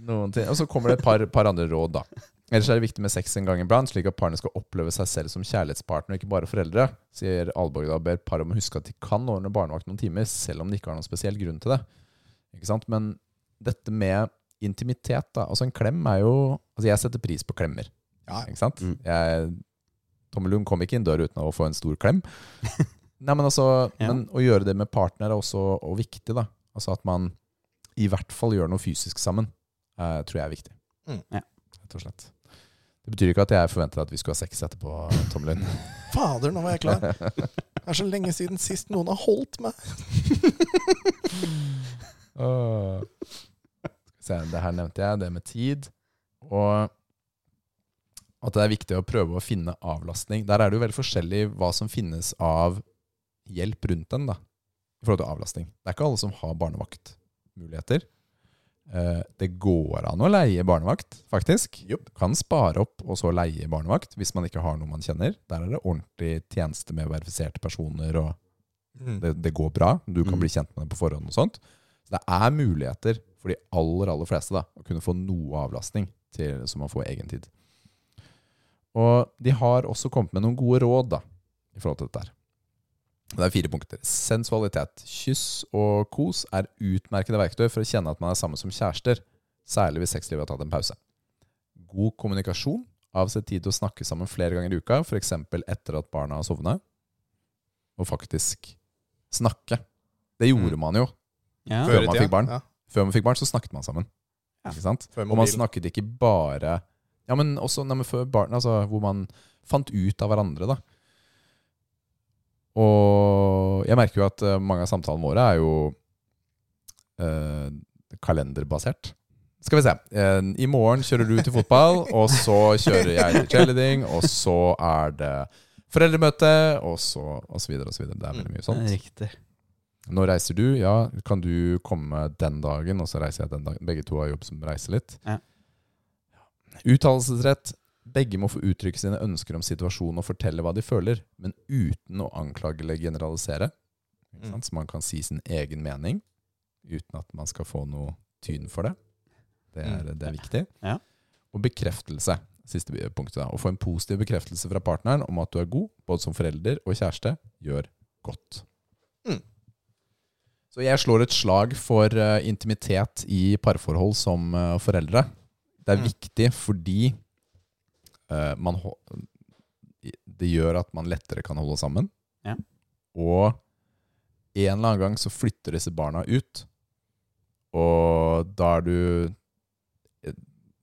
noen ting. Og så kommer det et par, par andre råd, da. Ellers er det viktig med sex en gang iblant, slik at parene skal oppleve seg selv som kjærlighetspartner, ikke bare foreldre, sier Alborg da, og ber par om å huske at de kan ordne barnevakt noen timer, selv om de ikke har noen spesiell grunn til det. Ikke sant? Men dette med intimitet, da. Altså, en klem er jo Altså, jeg setter pris på klemmer, Ja, ikke sant? Mm. Jeg, Tommelung kom ikke inn døra uten å få en stor klem. Nei, men altså, Ja. men å gjøre det med partner er også og viktig, da. Altså at man i hvert fall gjør noe fysisk sammen, eh, tror jeg er viktig. Mm. Ja. Rett og slett. Det betyr ikke at jeg forventer at vi skulle ha sex etterpå, Tommelund. Fader, nå var jeg klar. Det er så lenge siden sist noen har holdt meg. Åh. Skal vi se, det her nevnte jeg, det med tid. Og at det er viktig å prøve å finne avlastning. Der er det jo veldig forskjellig hva som finnes av hjelp rundt en, da. I forhold til avlastning. Det er ikke alle som har barnevaktmuligheter. Eh, Det går an å leie barnevakt, faktisk. Kan spare opp og så leie barnevakt hvis man ikke har noe man kjenner. Der er det ordentlig tjeneste med verifiserte personer og det, det går bra, du kan Mm. bli kjent med det på forhånd og sånt. Så det er muligheter for de aller, aller fleste da, å kunne få noe avlastning til, så man får egen tid. Og de har også kommet med noen gode råd da, i forhold til dette her. Det er fire punkter. Sensualitet. Kyss og kos er utmerkede verktøy for å kjenne at man er sammen som kjærester, særlig hvis sexlivet har tatt en pause. God kommunikasjon. Avsett tid til å snakke sammen flere ganger i uka, f.eks. etter at barna har sovna. Og faktisk snakke. Det gjorde man jo. Ja. Før man i tida. fikk barn. Ja. Før man fikk barn, så snakket man sammen. Ja. Ikke sant? Før Og man mobilen. snakket ikke bare Ja, men også nei, men før barn, altså, hvor man fant ut av hverandre, da. Og jeg merker jo at eh, mange av samtalene våre er jo eh, kalenderbasert. Skal vi se. Eh, I morgen kjører du til fotball, og så kjører jeg til cheerleading, og så er det foreldremøte, og så og så videre og så videre. Det er veldig mye sånt. Riktig. Nå reiser du, ja. Kan du komme den dagen, og så reiser jeg den dagen? Begge to har jobb som reiser litt. Ja. Uttalelsesrett. Begge må få uttrykke sine ønsker om situasjonen og fortelle hva de føler, men uten å anklage eller generalisere. Mm. Ikke sant? Så man kan si sin egen mening uten at man skal få noe tyn for det. Det er, det er viktig. Mm. Ja. Og bekreftelse. Siste punktet. da. Å få en positiv bekreftelse fra partneren om at du er god, både som forelder og kjæreste, gjør godt. Mm. Så jeg slår et slag for eh, intimitet i parforhold som eh, foreldre. Det er Mm. viktig fordi eh, man hå- Det gjør at man lettere kan holde sammen. Ja. Og en eller annen gang så flytter disse barna ut, og da er du eh,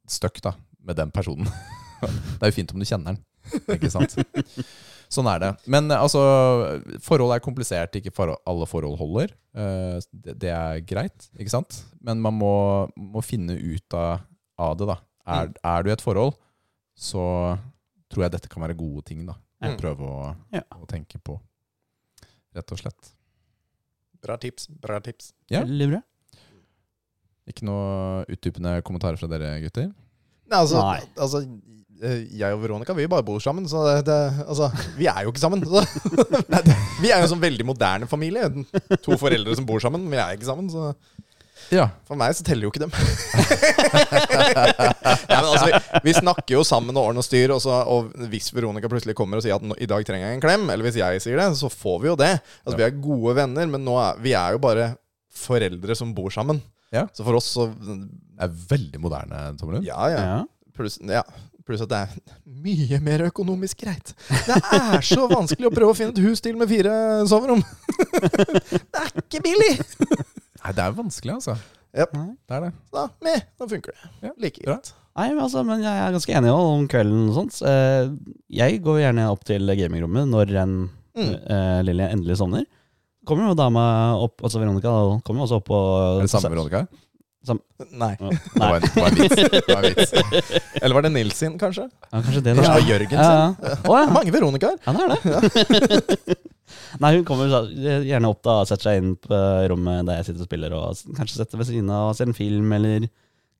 stuck da, med den personen. det er jo fint om du kjenner den, ikke sant? Sånn er det. Men eh, altså, forhold er komplisert. Ikke forhold, alle forhold holder. Eh, Det, det er greit, ikke sant? Men man må, må finne ut av, av det, da. Er, er du i et forhold, så tror jeg dette kan være gode ting, da. Å Mm. prøve å, Ja. å tenke på, rett og slett. Bra tips. Bra tips. Ja. Veldig bra. Ikke noe utdypende kommentarer fra dere, gutter? Nei, altså, Nei. altså eh, jeg og Veronica vi bare bor sammen, så det, det, altså, vi er jo ikke sammen. Så. Nei, det, vi er jo en sånn veldig moderne familie. To foreldre som bor sammen, men vi er ikke sammen. Så Ja. for meg så teller jo ikke dem. Nei, men altså, vi, vi snakker jo sammen og ordner og styr, og, så, og hvis Veronica plutselig kommer og sier at nå, i dag trenger jeg en klem, eller hvis jeg sier det, så får vi jo det. Altså, Vi er gode venner, men nå er, vi er jo bare foreldre som bor sammen. Ja. Så for oss så Det er veldig moderne, Tommelund. Ja, ja. Ja. Pluss ja. pluss at det er mye mer økonomisk greit. Det er så vanskelig å prøve å finne et hus til med fire soverom. det er ikke billig! Nei, det er vanskelig, altså. Yep. Det er det. Da, meh, da funker det. Ja, Like bra. greit. Nei, men altså, men jeg er ganske enig om kvelden og sånt. Eh, Jeg går gjerne opp til gamingrommet når en Mm. eh, Lilly endelig sovner. Kommer jo dama opp, altså Veronica da, kommer jo også opp og Er det samme, Veronica? Nei. Det Nei, var en, det var en vits. Det var en vits. Eller var det Nils sin, kanskje? ja, kanskje det. da. Kanskje det var Jørgen Ja, sin? ja. Å, ja. Mange Veronicaer. Ja, det er det. Nei, hun kommer så- eh, gjerne opp da, og setter seg inn på rommet der jeg sitter og spiller, og s- kanskje setter ved siden av og ser en film, eller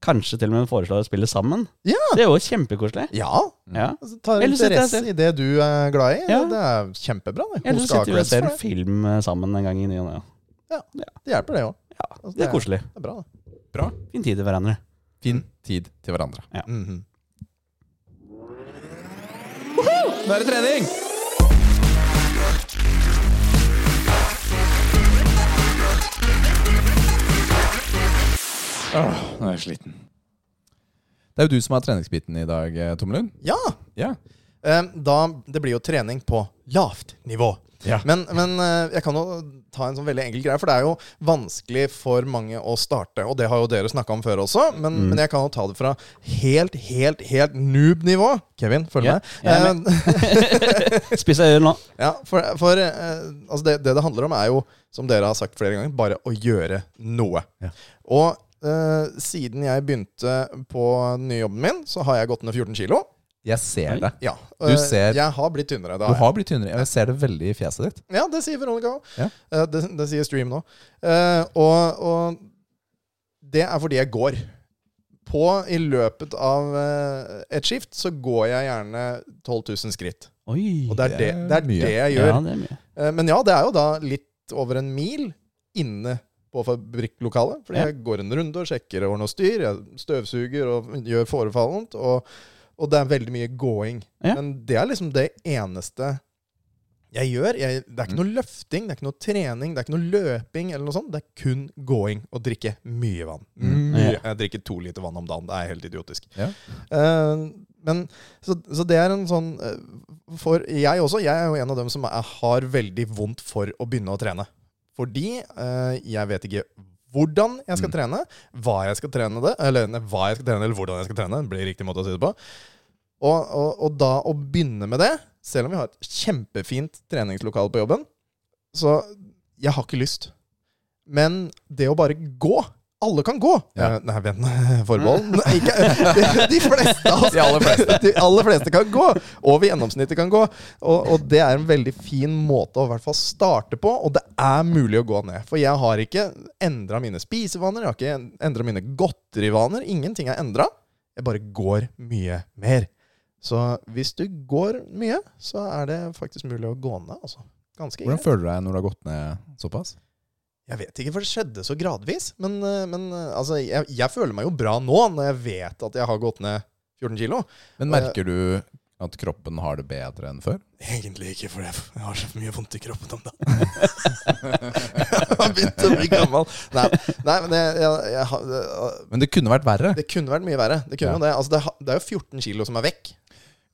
kanskje til og med foreslår å spille sammen. Ja. Det er jo kjempekoselig. Ja. Mm. Ja. Altså, tar Eller sitter jeg interesse i det du er glad i. Ja. Det er kjempebra. Det. Hun Eller så skal ha sitter vi og creds for ser en film eh, sammen en gang i ny og ne. det. Det hjelper, det òg. Ja, det er koselig. Det er bra, det. Fin tid til hverandre. Finn tid til hverandre. Mhm. Nå er det trening! Åh, nå er jeg sliten. Det er jo du som har treningsbiten i dag, eh, Tommelund. Ja. Ja. Eh, Da, det blir jo trening på lavt nivå. Ja. Men, men eh, jeg kan jo ta en sånn veldig enkel greie, for det er jo vanskelig for mange å starte. Og det har jo dere snakka om før også, men, Mm. men jeg kan jo ta det fra helt, helt, helt noob-nivå. Kevin, følg Ja, jeg er med. Eh, Spiser øl nå. ja, for for eh, altså det, det det handler om, er jo, som dere har sagt flere ganger, bare å gjøre noe. Ja. Og eh, siden jeg begynte på den nye jobben min, så har jeg gått ned 14 kilo. Jeg ser det. Ja, Du eh, ser- Jeg har blitt tynnere. det Du har jeg. har blitt tynnere. Jeg ser det veldig i fjeset ditt. Ja, det sier Veronica òg. Ja. det, det sier Stream nå. Eh, og, og det er fordi jeg går. På I løpet av eh, et skift så går jeg gjerne 12 000 skritt. Oi. Og det er Det det, er det, er mye. det jeg gjør. Ja, det er mye. Eh, men ja, det er jo da litt over en mil inne på fabrikklokalet. Fordi Ja. jeg går en runde og sjekker og ordner og styr. Jeg støvsuger og gjør forefallent. Og, og det er veldig mye gåing. Ja. Men det er liksom det eneste Jeg gjør, jeg, Det er ikke noe løfting, det er ikke noe trening, det er ikke noe løping. eller noe sånt. Det er kun gåing og drikke mye vann. Mm. Mye. Jeg drikker to liter vann om dagen. Det er helt idiotisk. Ja. Eh, men, så, så det er en sånn eh, For jeg også, jeg er jo en av dem som er, har veldig vondt for å begynne å trene. Fordi eh, jeg vet ikke hvordan jeg skal Mm. trene, hva jeg skal trene det, eller nei, hva jeg skal trene, eller hvordan jeg skal trene. Det blir riktig måte å si det på. Og, og, og da å begynne med det, selv om vi har et kjempefint treningslokale på jobben, så jeg har ikke lyst. Men det å bare gå Alle kan gå! Ja. Mm. Eh, Nei, vent, forbehold. Nei, Ikke, de, de fleste av oss De aller fleste. de aller fleste kan gå. Over gjennomsnittet kan gå. Og, og det er en veldig fin måte å i hvert fall starte på, og det er mulig å gå ned. For jeg har ikke endra mine spisevaner, jeg har ikke endra mine godterivaner. Ingenting er endra. Jeg bare går mye mer. Så hvis du går mye, så er det faktisk mulig å gå ned, altså. Ganske Hvordan greit. føler du deg når du har gått ned såpass? Jeg vet ikke, for det skjedde så gradvis. Men, eh, men eh, altså, jeg, jeg føler meg jo bra nå, når jeg vet at jeg har gått ned 14 kilo. Men Og merker du at kroppen har det bedre enn før? Egentlig ikke, for jeg jeg har så mye vondt i kroppen om dagen. jeg har begynt å bli gammel. Nei, nei men jeg, jeg, jeg, har- det- Men det kunne vært verre. det kunne vært mye verre. Det, kunne Ja. jo det. Altså, det, ha- det er jo 14 kilo som er vekk.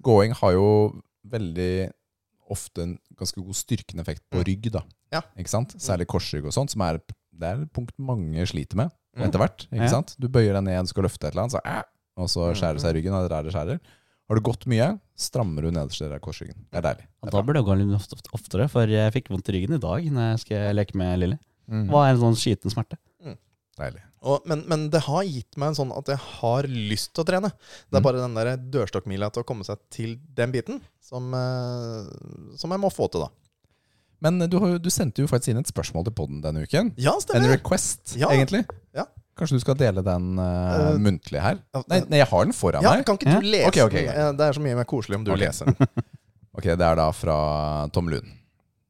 Gåing har jo veldig ofte en ganske god styrkende effekt på rygg, da. Mm. Ja. Mm. Ikke sant? Særlig korsrygg og sånt, som er, det er et punkt mange sliter med Mm. etter hvert. Ikke Ja. sant? Du bøyer deg ned, du skal løfte et eller annet, så, æ, og Mm. så skjærer det seg i ryggen, og det er der det skjærer. Har du gått mye, strammer du nederste del av korsryggen. Det er deilig. Ja, da burde jeg gå litt ofte- ofte- oftere, for jeg fikk vondt i ryggen i dag når jeg skal leke med Lilly. Det Mm. var en sånn skyten smerte. Deilig. Og, men, men det har gitt meg en sånn at jeg har lyst til å trene. Det Mm. er bare den der dørstokkmila til å komme seg til den biten som, eh, som jeg må få til, da. Men eh, du, har, jo- du sendte jo faktisk inn et spørsmål til podden denne uken. Ja, En stemmer det. request, Ja. egentlig. Ja. Kanskje du skal dele den eh, Eh, muntlig her? ja, Nei, nei, jeg har den foran Ja, meg. kan ikke du lese Ok, ok, den? greit. Eh, Det er så mye mer koselig om du Ok. leser den. Ok, Det er da fra Tom Lund.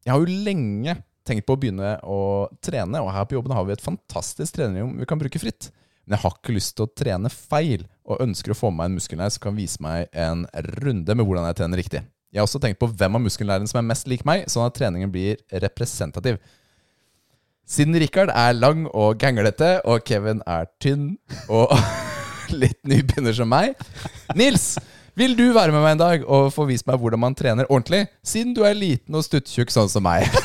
Jeg har jo lenge tenkt på å begynne å trene, og her på jobben har vi et fantastisk trenerrom vi kan bruke fritt. Men jeg har ikke lyst til å trene feil, og ønsker å få med meg en muskellærer som kan vise meg en runde med hvordan jeg trener riktig. Jeg har også tenkt på hvem av muskellærerne som er mest lik meg, sånn at treningen blir representativ. Siden Richard er lang og ganglete, og Kevin er tynn og litt nybegynner som meg Nils, vil du være med meg en dag og få vist meg hvordan man trener ordentlig, siden du er liten og stuttjukk sånn som meg?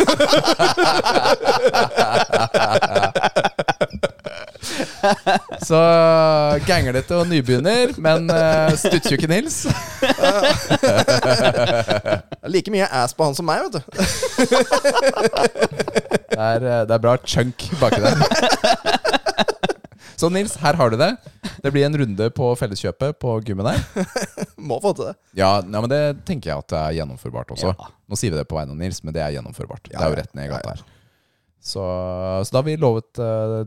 Så ganglete og nybegynner, men eh, stuttjukke Nils. Like mye ass på han som meg, vet du. Det er, eh, det er bra chunk baki der. Så Nils, her har du det. Det blir en runde på felleskjøpet på gymmet der. Må få til det. Ja, nei, men det tenker jeg at det er gjennomførbart også. Ja. Nå sier vi det på vegne av Nils, men det er gjennomførbart. Ja, det er jo ja. rett ned i Ja, gata her. Så, så da har vi lovet eh,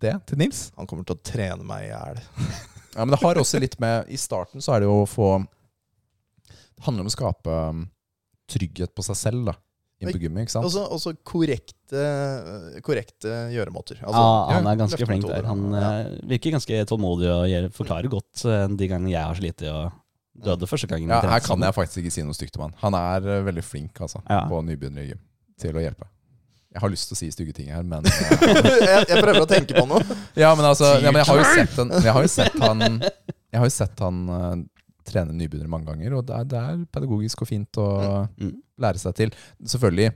det til Nils. Han kommer til å trene meg i hjel. Ja, men det har også litt med I starten så er det jo å få Det handler om å skape um, trygghet på seg selv, da. Inn på gymmet, ikke sant? Også, også korrekte, korrekte gjøremåter. Altså, ja, han ja, er ganske flink løftemetoder, der. Han ja. eh, virker ganske tålmodig og gjør, forklarer godt eh, de gangene jeg har slitt i og døde første gangen. vi Ja, her trente kan sammen. jeg faktisk ikke si noe stygt om han. Han er eh, veldig flink, altså, Ja. på nybegynnere i gym, til å hjelpe. Jeg har lyst til å si stygge ting her, men eh, jeg, jeg prøver å tenke på noe. Ja, men altså ja, men jeg, har jo sett han, jeg har jo sett han Jeg har jo sett han eh, trene nybegynnere mange ganger, og det er, det er pedagogisk og fint å Mm. lære seg til. Selvfølgelig,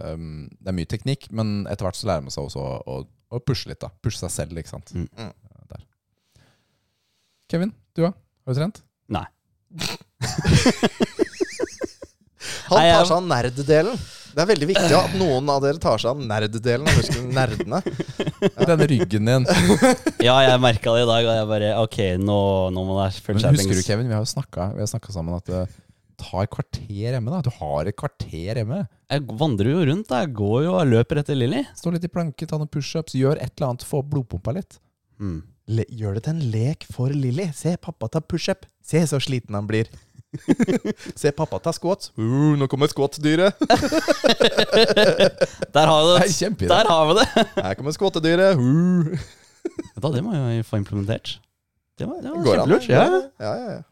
um, det er mye teknikk, men etter hvert så lærer man seg også å, å, å pushe litt. da Pushe seg selv, ikke sant. Mm. Mm. Der. Kevin, du da? Har du trent? Nei. Han Nei, jeg- tar seg av nerddelen. Det er veldig viktig at noen av dere tar seg av nerddelen av muskelen nerdene. Denne ryggen din. Ja, jeg merka det i dag, og jeg bare Ok, nå, nå må det Men følge husker du, Kevin, vi har jo snakka vi har snakket sammen at eh, ta et kvarter hjemme, da. Du har et kvarter hjemme. Jeg vandrer jo rundt, da. jeg går jo og løper etter Lilly. Stå litt i planke, ta noen pushups, gjør et eller annet, få opp blodpumpa litt. Mm. Le, gjør det til en lek for Lilly. Se, pappa tar pushup. Se så sliten han blir. Se, pappa tar squats. Uh, nå kommer squatdyret. Der har vi Det er det! kjempeidé. Der har vi det! Her kommer squattedyret. Uh. Da, det må jeg jo få implementert. Det var, det var Går an, kjempelurt. det? Ja, Ja, ja, ja.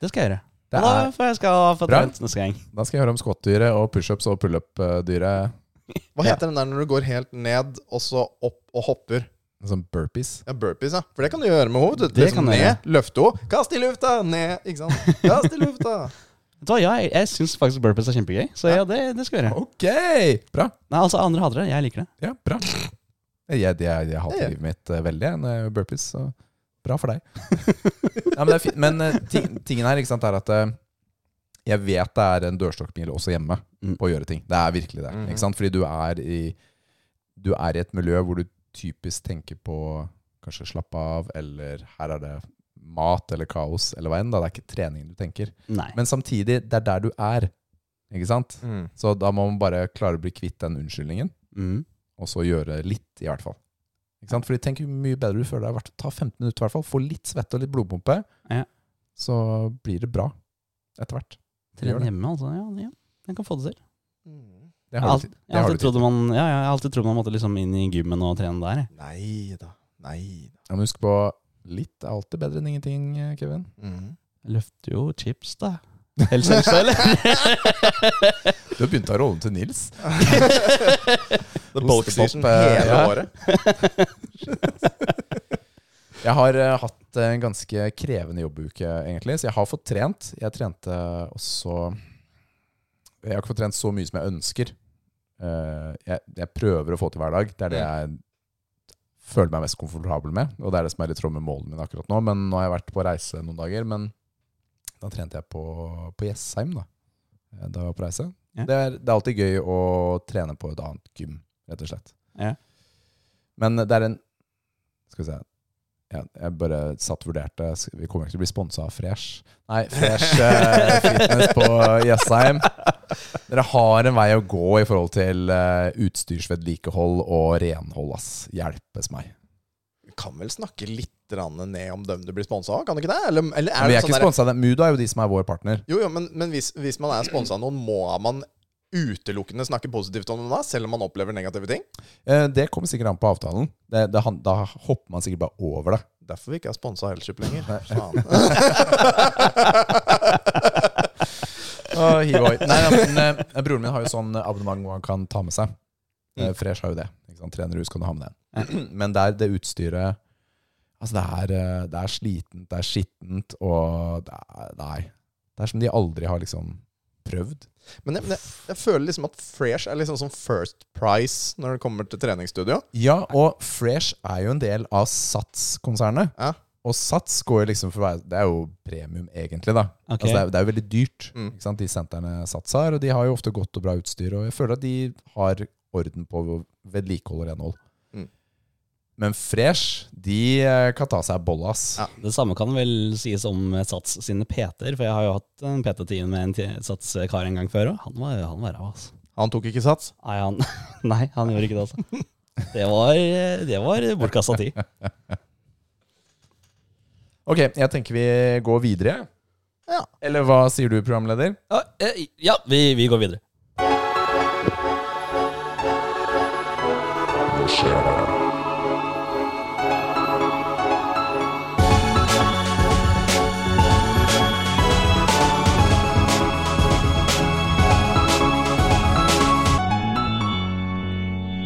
det skal jeg gjøre. Det Da er, får jeg skal få Bra. trent neste gang. da skal jeg høre om squat-dyret og pushups og pullup-dyret. eh, Hva heter den der når du går helt ned, og så opp og hopper? Sånn burpees. Ja, Burpees, ja. For det kan du gjøre med Det hodet. Det kan liksom du ned, gjøre. løfte henne. Kast i lufta, ned. Ikke sant? Kast i lufta. Vet du hva, ja, jeg, jeg syns faktisk burpees er kjempegøy, så ja, det, det skal vi gjøre. Ok! Bra. Nei, altså, andre hater det. Jeg liker det. Ja, bra. Jeg, jeg, jeg, jeg hater Ja, ja. livet mitt eh, veldig jeg, når jeg gjør burpees, så bra for deg. Nei, men det er fint. men eh, ting, tingen her ikke sant, er at eh, jeg vet det er en dørstokkmil også hjemme Mm. på å gjøre ting. Det er virkelig det. Mhm. Ikke sant? Fordi du er, i, du er i et miljø hvor du typisk tenker på kanskje slappe av, eller her er det mat eller kaos, eller hva enn. Da. Det er ikke trening du tenker. Nei. Men samtidig, det er der du er. Ikke sant? Så da må man bare klare å bli kvitt den unnskyldningen Mm. og så gjøre litt, i hvert fall. Ikke sant? Fordi tenk hvor mye bedre du føler deg. hvert- Ta 15 minutter, i hvert fall. Få litt svette og litt blodpumpe, Ja. så blir det bra etter hvert. Gjør Trene det. hjemme, altså. Ja, ja. Jeg kan få det til. Mm. Det Jeg har har du alltid, tid- jeg har alltid det har du tid trodd man, ja, ja, jeg har alltid trodd man måtte liksom inn i gymmen og trene der. jeg. Nei da. Nei da. Ja, men husk på litt er alltid bedre enn ingenting, eh, Kevin. Mm. Jeg løfter jo chips, da. Helt seriøst, eller? Du har begynt å ha rollen til Nils. The bulk Ostepop, season eh, hele ja. året. Jeg har eh, hatt en ganske krevende jobbuke, egentlig, så jeg har fått trent. Jeg trente også Jeg har ikke fått trent så mye som jeg ønsker. Eh, Jeg, jeg prøver å få til hver dag. Det er det Mm. jeg føler meg mest komfortabel med, og det er det som er i tråd med målene mine akkurat nå. Men nå har jeg vært på reise noen dager, men da trente jeg på, på Jessheim, da. Eh, Da jeg var på reise. Ja. Det, er, det er alltid gøy å trene på et annet gym, rett og slett. Ja. Men det er en Skal vi se. Ja, jeg bare satt og vurderte. Sk- Vi kommer ikke til å bli sponsa av Fresh. Nei, Fresh eh, Fitness på Jessheim. Dere har en vei å gå i forhold til eh, utstyrsvedlikehold og renhold, ass. Hjelpes meg. Du kan vel snakke litt grann ned om dem du blir sponsa av, kan du ikke det? Eller, eller er Men vi det er sånn ikke der- sponsa av dem. Mudo er jo de som er vår partner. Jo, jo, men, men hvis, hvis man er sponsa av noen, må man utelukkende snakke positivt om dem da, selv om man opplever negative ting? Eh, det kommer sikkert an på avtalen. Det, det, han- da hopper man sikkert bare over det. Derfor vi ikke er sponsa av Elkjøp lenger. Nei. Faen. Å, hi, hoi. Nei, ja, men, eh, broren min har jo sånn abonnement hvor han kan ta med seg. Eh, Fresh har jo det. Ikke sant? Trener hus kan du ha med den. Men der det utstyret Altså, det er, eh, det er slitent, det er skittent, og det er, Nei. Det er som de aldri har liksom prøvd. Men jeg, jeg, jeg føler liksom at Fresh er liksom sånn first price når det kommer til treningsstudio. Ja, og Fresh er jo en del av Sats-konsernet. Ja. Og Sats går jo liksom for å være Det er jo premium, egentlig, da. Ok. Altså, det, er, det er jo veldig dyrt, Mm. ikke sant? de sentrene Sats har. Og de har jo ofte godt og bra utstyr, og jeg føler at de har orden på vedlikehold og renhold. Mm. Men Fresh, de eh, kan ta seg bolla, ass. Ja. Det samme kan vel sies om Sats sine PT-er, for jeg har jo hatt en PT-time med en ti- Sats-kar en gang før òg. Han var han var ræva, altså. Han tok ikke sats. Nei han, nei, han gjorde ikke det, altså. Det var, det var bortkasta tid. Ok, jeg tenker vi går videre. Ja. Eller hva sier du, programleder? Ja, eh, ja vi, vi går videre.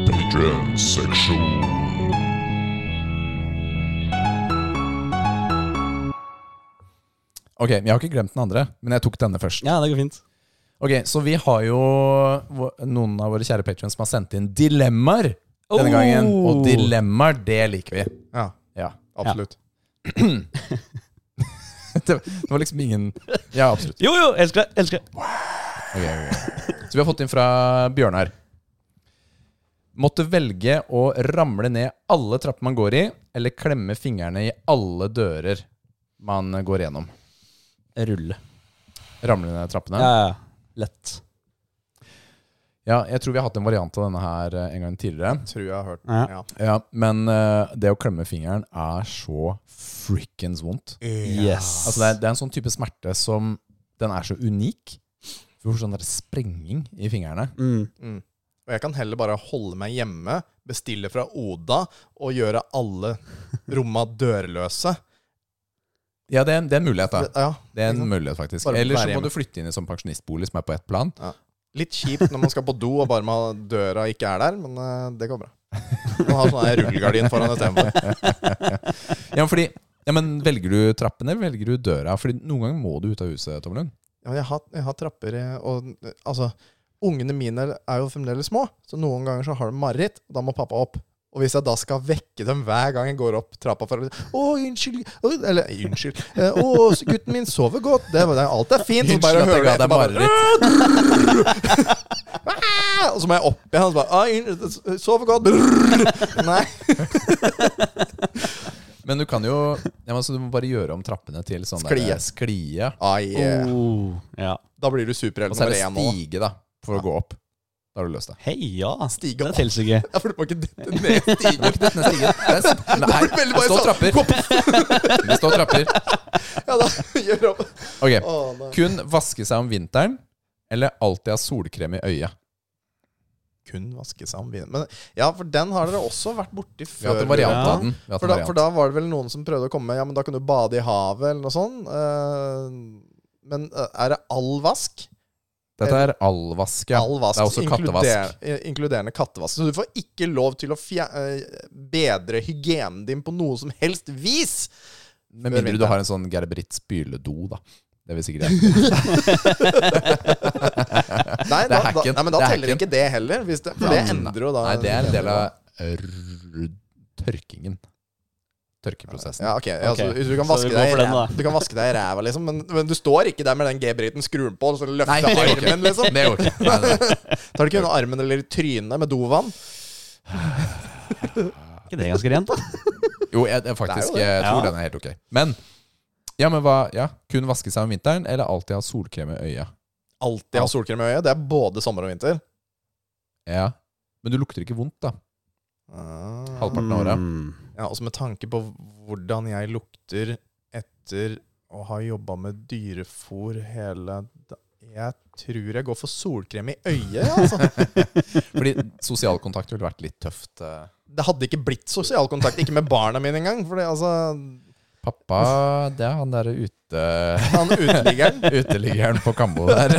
Patron seksjon. Ok, jeg har ikke glemt den andre, men jeg tok denne først. Ja, det går fint. Ok, så vi har jo vå- noen av våre kjære patrons som har sendt inn dilemmaer denne Oh! gangen. Og dilemmaer, det liker vi. Ja, Ja. absolutt. Det, det var liksom ingen Ja, absolutt. Jo, jo, elsker det. Elsker det. Ok, ok. Så vi har fått inn fra Bjørnar. Måtte velge å ramle ned alle trapper man går i, eller klemme fingrene i alle dører man går gjennom. Rulle. Ramle ned trappene. Ja, ja. Lett. Ja, jeg tror vi har hatt en variant av denne her eh, en gang tidligere. Tror jeg har hørt. Ja. Ja. Ja, men eh, det å klemme fingeren er så frikkens vondt. Yes. Altså det er, det er en sånn type smerte som Den er så unik. Du får sånn der sprenging i fingrene. Mm. Mm. Og jeg kan heller bare holde meg hjemme, bestille fra Oda og gjøre alle romma dørløse, Ja, det er, en, det er en mulighet, da. Ja, Det er ikke en sant? mulighet, faktisk. Bare Eller så være må hjemme. du flytte inn i sånn pensjonistbolig som er på ett plan. Litt kjipt når man skal på do og bare man døra ikke er der, men eh, det går bra. Man har sånn her rullegardin foran istedenfor. Ja, men fordi ja, men Velger du trappene, eller velger du døra? Fordi noen ganger må du ut av huset, Tom Lund. Ja, men jeg, har- jeg har trapper eh, og eh, altså Ungene mine er jo fremdeles små, så noen ganger så har de mareritt, og da må pappa opp. Og hvis jeg da skal vekke dem hver gang jeg går opp trappa for å 'Å, unnskyld.' Oi, Eller 'Unnskyld.' eh, 'Å, gutten min sover godt.' Det, var- det, alt er fint. Så bare hører jeg etter bare «Æ!» Og så må jeg opp igjen, og så bare «Å, unnskyld, eh, 'Sover godt.' Brrr. Nei. Men du kan jo ja, men, så Du må bare gjøre om trappene til sånn Sklie. der- sklie. Ah, yeah. Oh, ja. Da blir du superhelt Og så er nummer det én nå. stige, da, for å gå opp. Da har du løst det. Hei, ja. Stig Det opp. teller ikke. Ja, for du må ikke dette ned stigen. Det er stige. Det er s- Nei, veldig det bare står sånn, trapper. Det står trapper. Ja, da gjør opp. Ok. Å, nei. Kun vaske seg om vinteren, eller alltid ha solkrem i øyet. Kun vaske seg om vin. Men, ja, for den har dere også vært borti Vi har før. hatt en variant Ja. av den. Vi har hatt For en da, for variant. da var det vel noen som prøvde å komme med Ja, men da kan du bade i havet, eller noe sånt. Eh, men eh, er det all vask? Dette er allvask. Ja. all vask, det er også kattevask. inkluder- eh, inkluderende kattevask. Så du får ikke lov til å fje, eh, bedre hygienen din på noe som helst vis! Med før mindre du vinteren. har en sånn Gerberit spyledo, da. Det vil sikkert hjelpe. Nei, Det er da, da, hacken. nei men da Det er teller hacken. ikke det heller. Hvis det, for det endrer jo da Nei, det er en del av r- tørkingen. Tørkeprosessen. Ja, ok. Ja, så Ok, hvis du kan så vaske vi går deg i for den, da. ræva, du kan vaske deg i ræva, liksom, men, men du står ikke der med den G-briten, skrur den på, og så Nei, løfter det du går ikke. armen, Det liksom. går ikke. Nei, nei, nei. Tar du ikke unna armen eller trynet med dovann? ikke det ganske rent, da? Jo, jeg, jeg faktisk Det er jo det. jeg tror Ja. den er helt ok. Men ja, men hva, ja, kun vaske seg om vinteren, eller alltid ha solkrem i øyet? Alltid ha solkrem i øyet. Det er både sommer og vinter. Ja. Men du lukter ikke vondt, da. Ja, Halvparten av året. Mm. også med tanke på hvordan jeg lukter etter å ha jobba med dyrefôr hele da- Jeg tror jeg går for solkrem i øyet, altså. Fordi sosial kontakt ville vært litt tøft. eh. Det hadde ikke blitt sosial kontakt, ikke med barna mine engang. For det, altså Pappa, det er han derre ute... Han uteliggeren Uteliggeren på Kambo der.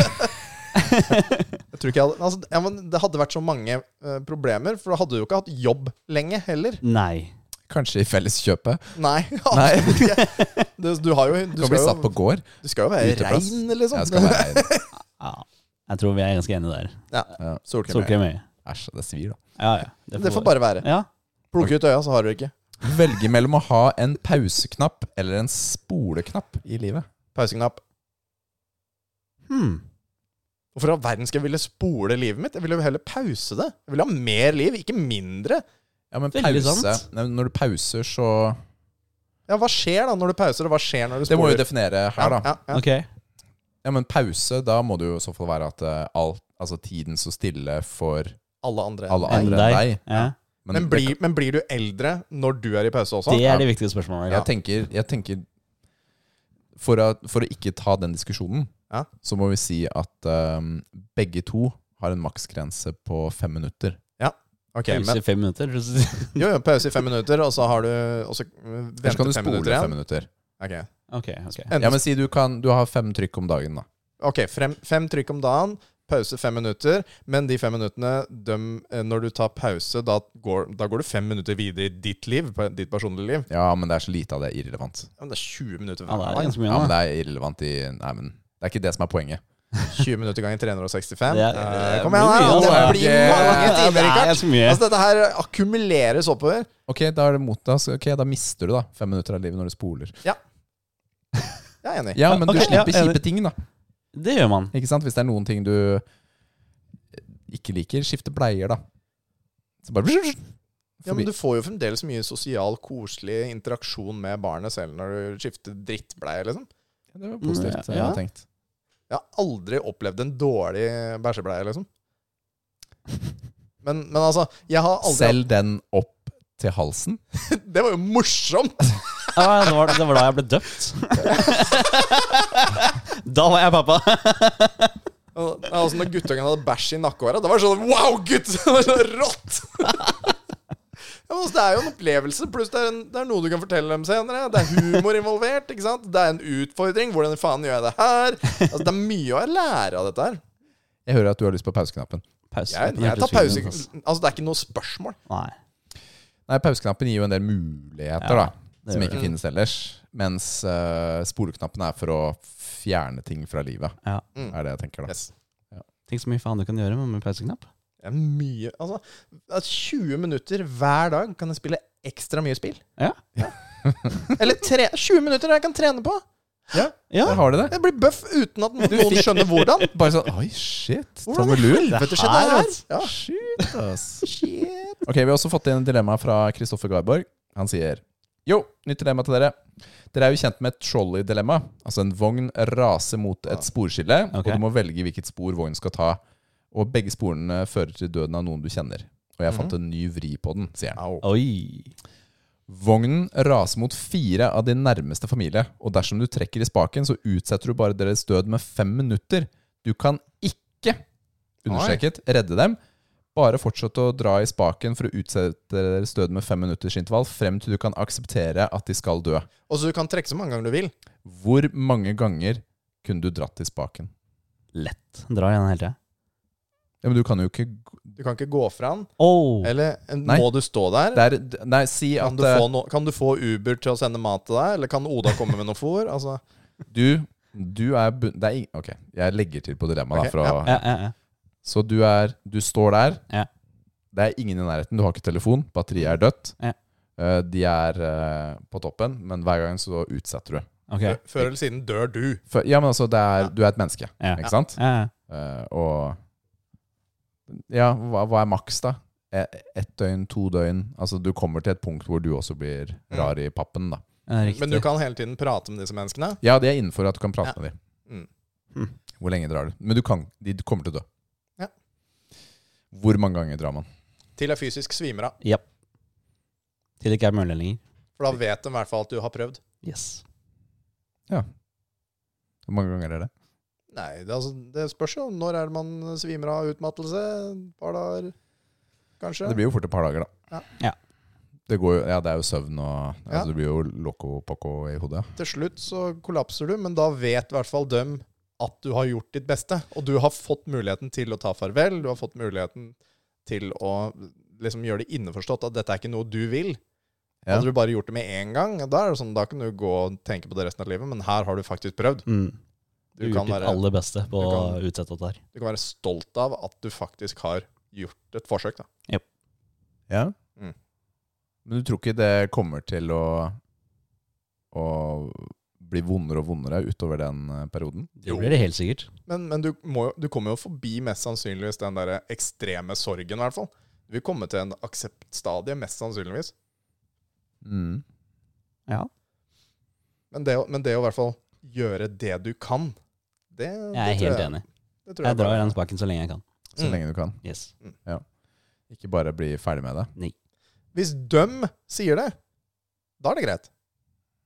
Jeg tror ikke jeg hadde, altså, ja, men det hadde vært så mange eh, problemer, for da hadde du jo ikke hatt jobb lenge heller. Nei. Kanskje i Felleskjøpet. Nei. Nei, Du, du, har jo, du du, kan bli skal satt jo, på gård. du skal jo være uteplass. rein, Jeg liksom. skal være Ja, jeg tror vi er ganske enige der. Solkrem. Solkrem i øyet. Æsj, det svir, da. Ja, ja. Det får bare være. Ja. Plukke ut øya, så har du det ikke. Velge mellom å ha en pauseknapp eller en spoleknapp i livet. Pauseknapp. Hmm. Hvorfor i all verden skal jeg ville spole livet mitt? Jeg ville jo heller pause det. Jeg ville ha mer liv, ikke mindre. Ja, men Veldig pause sant. Nei, Når du pauser, så Ja, hva skjer da når du pauser, og hva skjer når du Det må spoler? vi definere her, da. Ja, ja, ja. Ok. Ja, men pause, da må det jo i så fall være at eh, alt Altså tiden så stille for Alle andre. alle Enn andre enn deg. Ja. Men, Men, blir, men blir du eldre når du er i pause også? Det er ja. det viktige spørsmålet. jeg tenker, jeg tenker for, å, for å ikke ta den diskusjonen, Ja. så må vi si at eh, begge to har en maksgrense på fem minutter. Ok, Pause men, i fem minutter. jo, jo, pause i fem minutter, og så har du Og så eh, Eller så venter kan du fem spole minutter igjen. fem minutter. Ok. ok, ok. Ja, men si du, kan, du har fem trykk om dagen, da. Ok, frem, fem trykk om dagen, pause fem minutter. Men de fem minuttene, dem, eh, når du tar pause, da går, da går du fem minutter videre i ditt liv. på Ditt personlige liv. Ja, men det er så lite av det irrelevant. Ja, Men det er 20 minutter Ja, det hver er dag. ganske mye Ja, men nå. det er irrelevant i Nei, men det er ikke det som er poenget. 20 altså. minutter ganger 365. Det er- Eh, det Kom blir igjen, mye, da! Det altså. blir mange Ja, timer, det er Rikard. ganske mye. Altså, dette her akkumuleres oppover. Ok, da er det mot deg. så- Ok, da mister du da fem minutter av livet når du spoler. Jeg er enig. Ja, men Ok, du slipper ja, enig. kjipe ting, da. Det gjør man. Ikke sant? Hvis det er noen ting du eh, ikke liker, skifte bleier, da. Så bare Ja, Men du får jo fremdeles mye sosial, koselig interaksjon med barnet selv når du skifter drittbleie, liksom. Det var positivt. Ja. Jeg hadde tenkt. Jeg har aldri opplevd en dårlig bæsjebleie, liksom. Men, men altså, jeg har aldri Selg den opp til halsen. Det var jo morsomt! Ja, det, var, det var da jeg ble døpt. da var jeg pappa. Og- Altså Når guttungen hadde bæsj i nakkehåra, det var sånn Wow, gutt! Det var så rått! Ja, men det er jo en opplevelse, pluss det er, en, det er noe du kan fortelle dem senere. Det er humor involvert. ikke sant? Det er en utfordring. Hvordan faen gjør jeg det her? Altså, Det er mye å lære av dette her. Jeg hører at du har lyst på pauseknappen. Pause. Jeg, Den jeg hørtes tar fin ut, pause. ass. Altså, det er ikke noe spørsmål. Nei. Nei, pauseknappen gir jo en del muligheter, Ja, da. Som gjør ikke finnes ellers. Mens uh, spoleknappen er for å fjerne ting fra livet. Ja. Er det jeg tenker, da. Yes. Tenk så mye faen du kan gjøre med med pauseknapp. Det er mye Altså, at 20 minutter hver dag kan jeg spille ekstra mye spill. Ja. Eller tre, 20 minutter jeg kan trene på! Ja. Der har du det. Jeg blir bøff uten at noen skjønner hvordan. Bare sånn Oi, shit. Hvordan i Tommel ut. helvete skjedde det her? altså. Ja. Shit, ass. Shit. Ok, Vi har også fått inn et dilemma fra Kristoffer Garborg. Han sier Yo, nytt dilemma til dere. Dere er jo kjent med et trolley-dilemma. Altså en vogn raser mot Ah. et sporskille, Ok. og du må velge hvilket spor vognen skal ta. Og begge sporene fører til døden av noen du kjenner. Og jeg Mhm. fant en ny vri på den, sier han. Oi. Vognen raser mot fire av din nærmeste familie, og dersom du trekker i spaken, så utsetter du bare deres død med fem minutter. Du kan ikke, understreket, redde dem. Bare fortsette å dra i spaken for å utsette deres død med fem minutters intervall, frem til du kan akseptere at de skal dø. Og så du kan trekke så mange ganger du vil. Hvor mange ganger kunne du dratt i spaken? Lett. Dra igjen hele tida. Ja, men du kan jo ikke Du kan ikke gå fra den. Oh. Eller eh, Nei. må du stå der? det er, Nei, si Kan at du, få eh, no kan du få Uber til å sende mat til deg, eller kan Oda komme med noe fôr? Altså, du, du er bun- det er, ing- Ok, jeg legger til på dilemmaet, Ok, da, for å Ja, ja, ja. Så du er Du står der. Ja. Det er ingen i nærheten. Du har ikke telefon. Batteriet er dødt. Ja. Eh, De er eh, på toppen, men hver gang så utsetter du. Ok. før- Før eller siden dør du. For, ja, men altså, det er, Ja. du er et menneske, Ja. ikke sant? Ja, ja. Eh, og Ja, hva, hva er maks, da? Eh, Ett døgn, to døgn Altså, du kommer til et punkt hvor du også blir Mm. rar i pappen, da. Ja, det er riktig. Men du kan hele tiden prate med disse menneskene. Ja, det er innenfor at du kan prate Ja. med dem. Mm. Mm. Hvor lenge drar du? Men du kan. De kommer til å dø. Ja. Hvor mange ganger drar man? Til jeg fysisk svimer av. Japp. Til det ikke er mulig lenger. For da vet de i hvert fall at du har prøvd. Yes. Hvor mange ganger er det? Nei, det, altså, det spørs jo. Når er det man svimer av utmattelse? Et par dager, kanskje? Det blir jo fort et par dager, da. Ja. Ja. Det, går jo, ja, det er jo søvn og altså, Ja. Du blir jo loco poco i hodet. ja. Til slutt så kollapser du, men da vet i hvert fall dem at du har gjort ditt beste. Og du har fått muligheten til å ta farvel. Du har fått muligheten til å liksom gjøre det innforstått at dette er ikke noe du vil. Ja. Hadde du bare gjort det med én gang, da, er det sånn, da kan du gå og tenke på det resten av livet. Men her har du faktisk prøvd. Mm. Du Du har gjort kan ditt være, aller beste på du å kan- utsette dette her. du kan være stolt av at du faktisk har gjort et forsøk. Da. Mm. Men du tror ikke det kommer til å, å bli vondere og vondere utover den eh, perioden? Det blir det helt sikkert. Men, men du, må, jo- du kommer jo forbi mest sannsynligvis den der ekstreme sorgen, i hvert fall. Du vil komme til en akseptstadie, mest sannsynligvis. Mm. Ja. Men det, å- men det å i hvert fall gjøre det du kan, det Jeg er helt enig. Det tror jeg, Jeg drar i bare- den spaken så lenge jeg kan. Så Mm. lenge du kan. Yes. Ikke bare bli ferdig med det. Hvis døm sier det, da er det greit.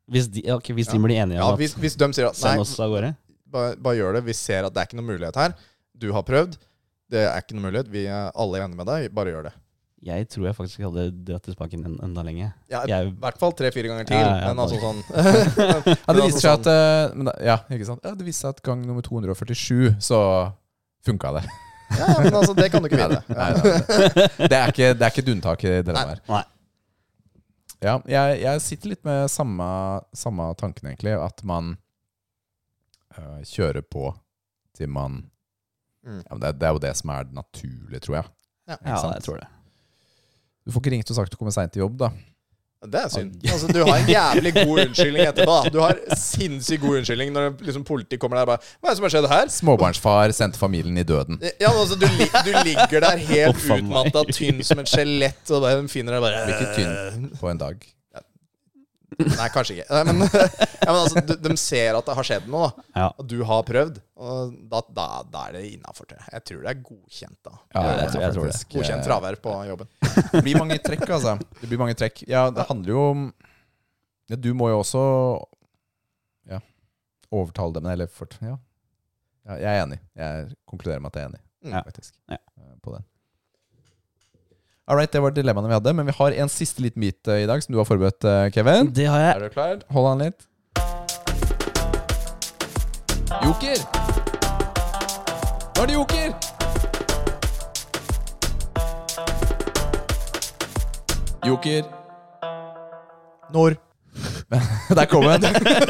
Hvis de, ja, ok, hvis de Ja. blir enige Ja, om hvis, at hvis døm sier at Send nei, oss av gårde. bare, bare gjør det, vi ser at det er ikke noen mulighet her. Du har prøvd, det er ikke noen mulighet, vi er alle enige med deg, bare gjør det. Jeg tror jeg faktisk hadde dratt i spaken en, enda lenge. Ja, I Jeg, hvert fall tre-fire ganger til, Ja, ja, men altså bare- sånn Ja, det Men viser seg at altså eh, men da, Ja, ikke sant? Ja, det viser seg at gang nummer 247 så funka det. Ja, ja, men altså, det kan du ikke vite. Nei, nei, nei. Det er ikke, det er ikke et unntak i det der. Nei. Ja, jeg, jeg sitter litt med samme, samme tanken, egentlig. At man øh, kjører på til man Mm. ja, men det, er- det er jo det som er det naturlige, tror jeg. Ja. Ikke ja, sant? jeg tror det. Du får ikke ringt og sagt du kommer seint til jobb, da. Det er synd. Altså, du har en jævlig god unnskyldning etterpå. da. Du har sinnssykt god unnskyldning når liksom, politiet kommer der og bare 'Hva er det som har skjedd her?' Småbarnsfar sendte familien i døden. Ja, men altså, du, li du ligger der helt Å, faen meg. utmatta, tynn som et skjelett, og de finner deg bare Blir ikke tynn på en dag. Nei, kanskje ikke. Nei, men, ja, men altså, de, de ser at det har skjedd noe, da. Ja. Og du har prøvd. Og da, da, da er det innafor. Jeg tror det er godkjent, da. Ja, jeg tror- jeg tror det. faktisk, eh, Godkjent fravær på jobben. Det blir mange trekk, altså. Det blir mange trekk. Ja, det handler jo om ja, Du må jo også ja, overtale dem, eller fort, ja. ja. Jeg er enig. Jeg konkluderer med at jeg er enig, Mm. faktisk. Ja. eh, På den. Alright, det var dilemmaene vi hadde, men vi har en siste liten bit eh, i dag som du har forberedt, eh, Kevin. Det har jeg. Er du klar? Hold an litt. Joker! Nå er det joker! Joker. Når? Der kom jeg.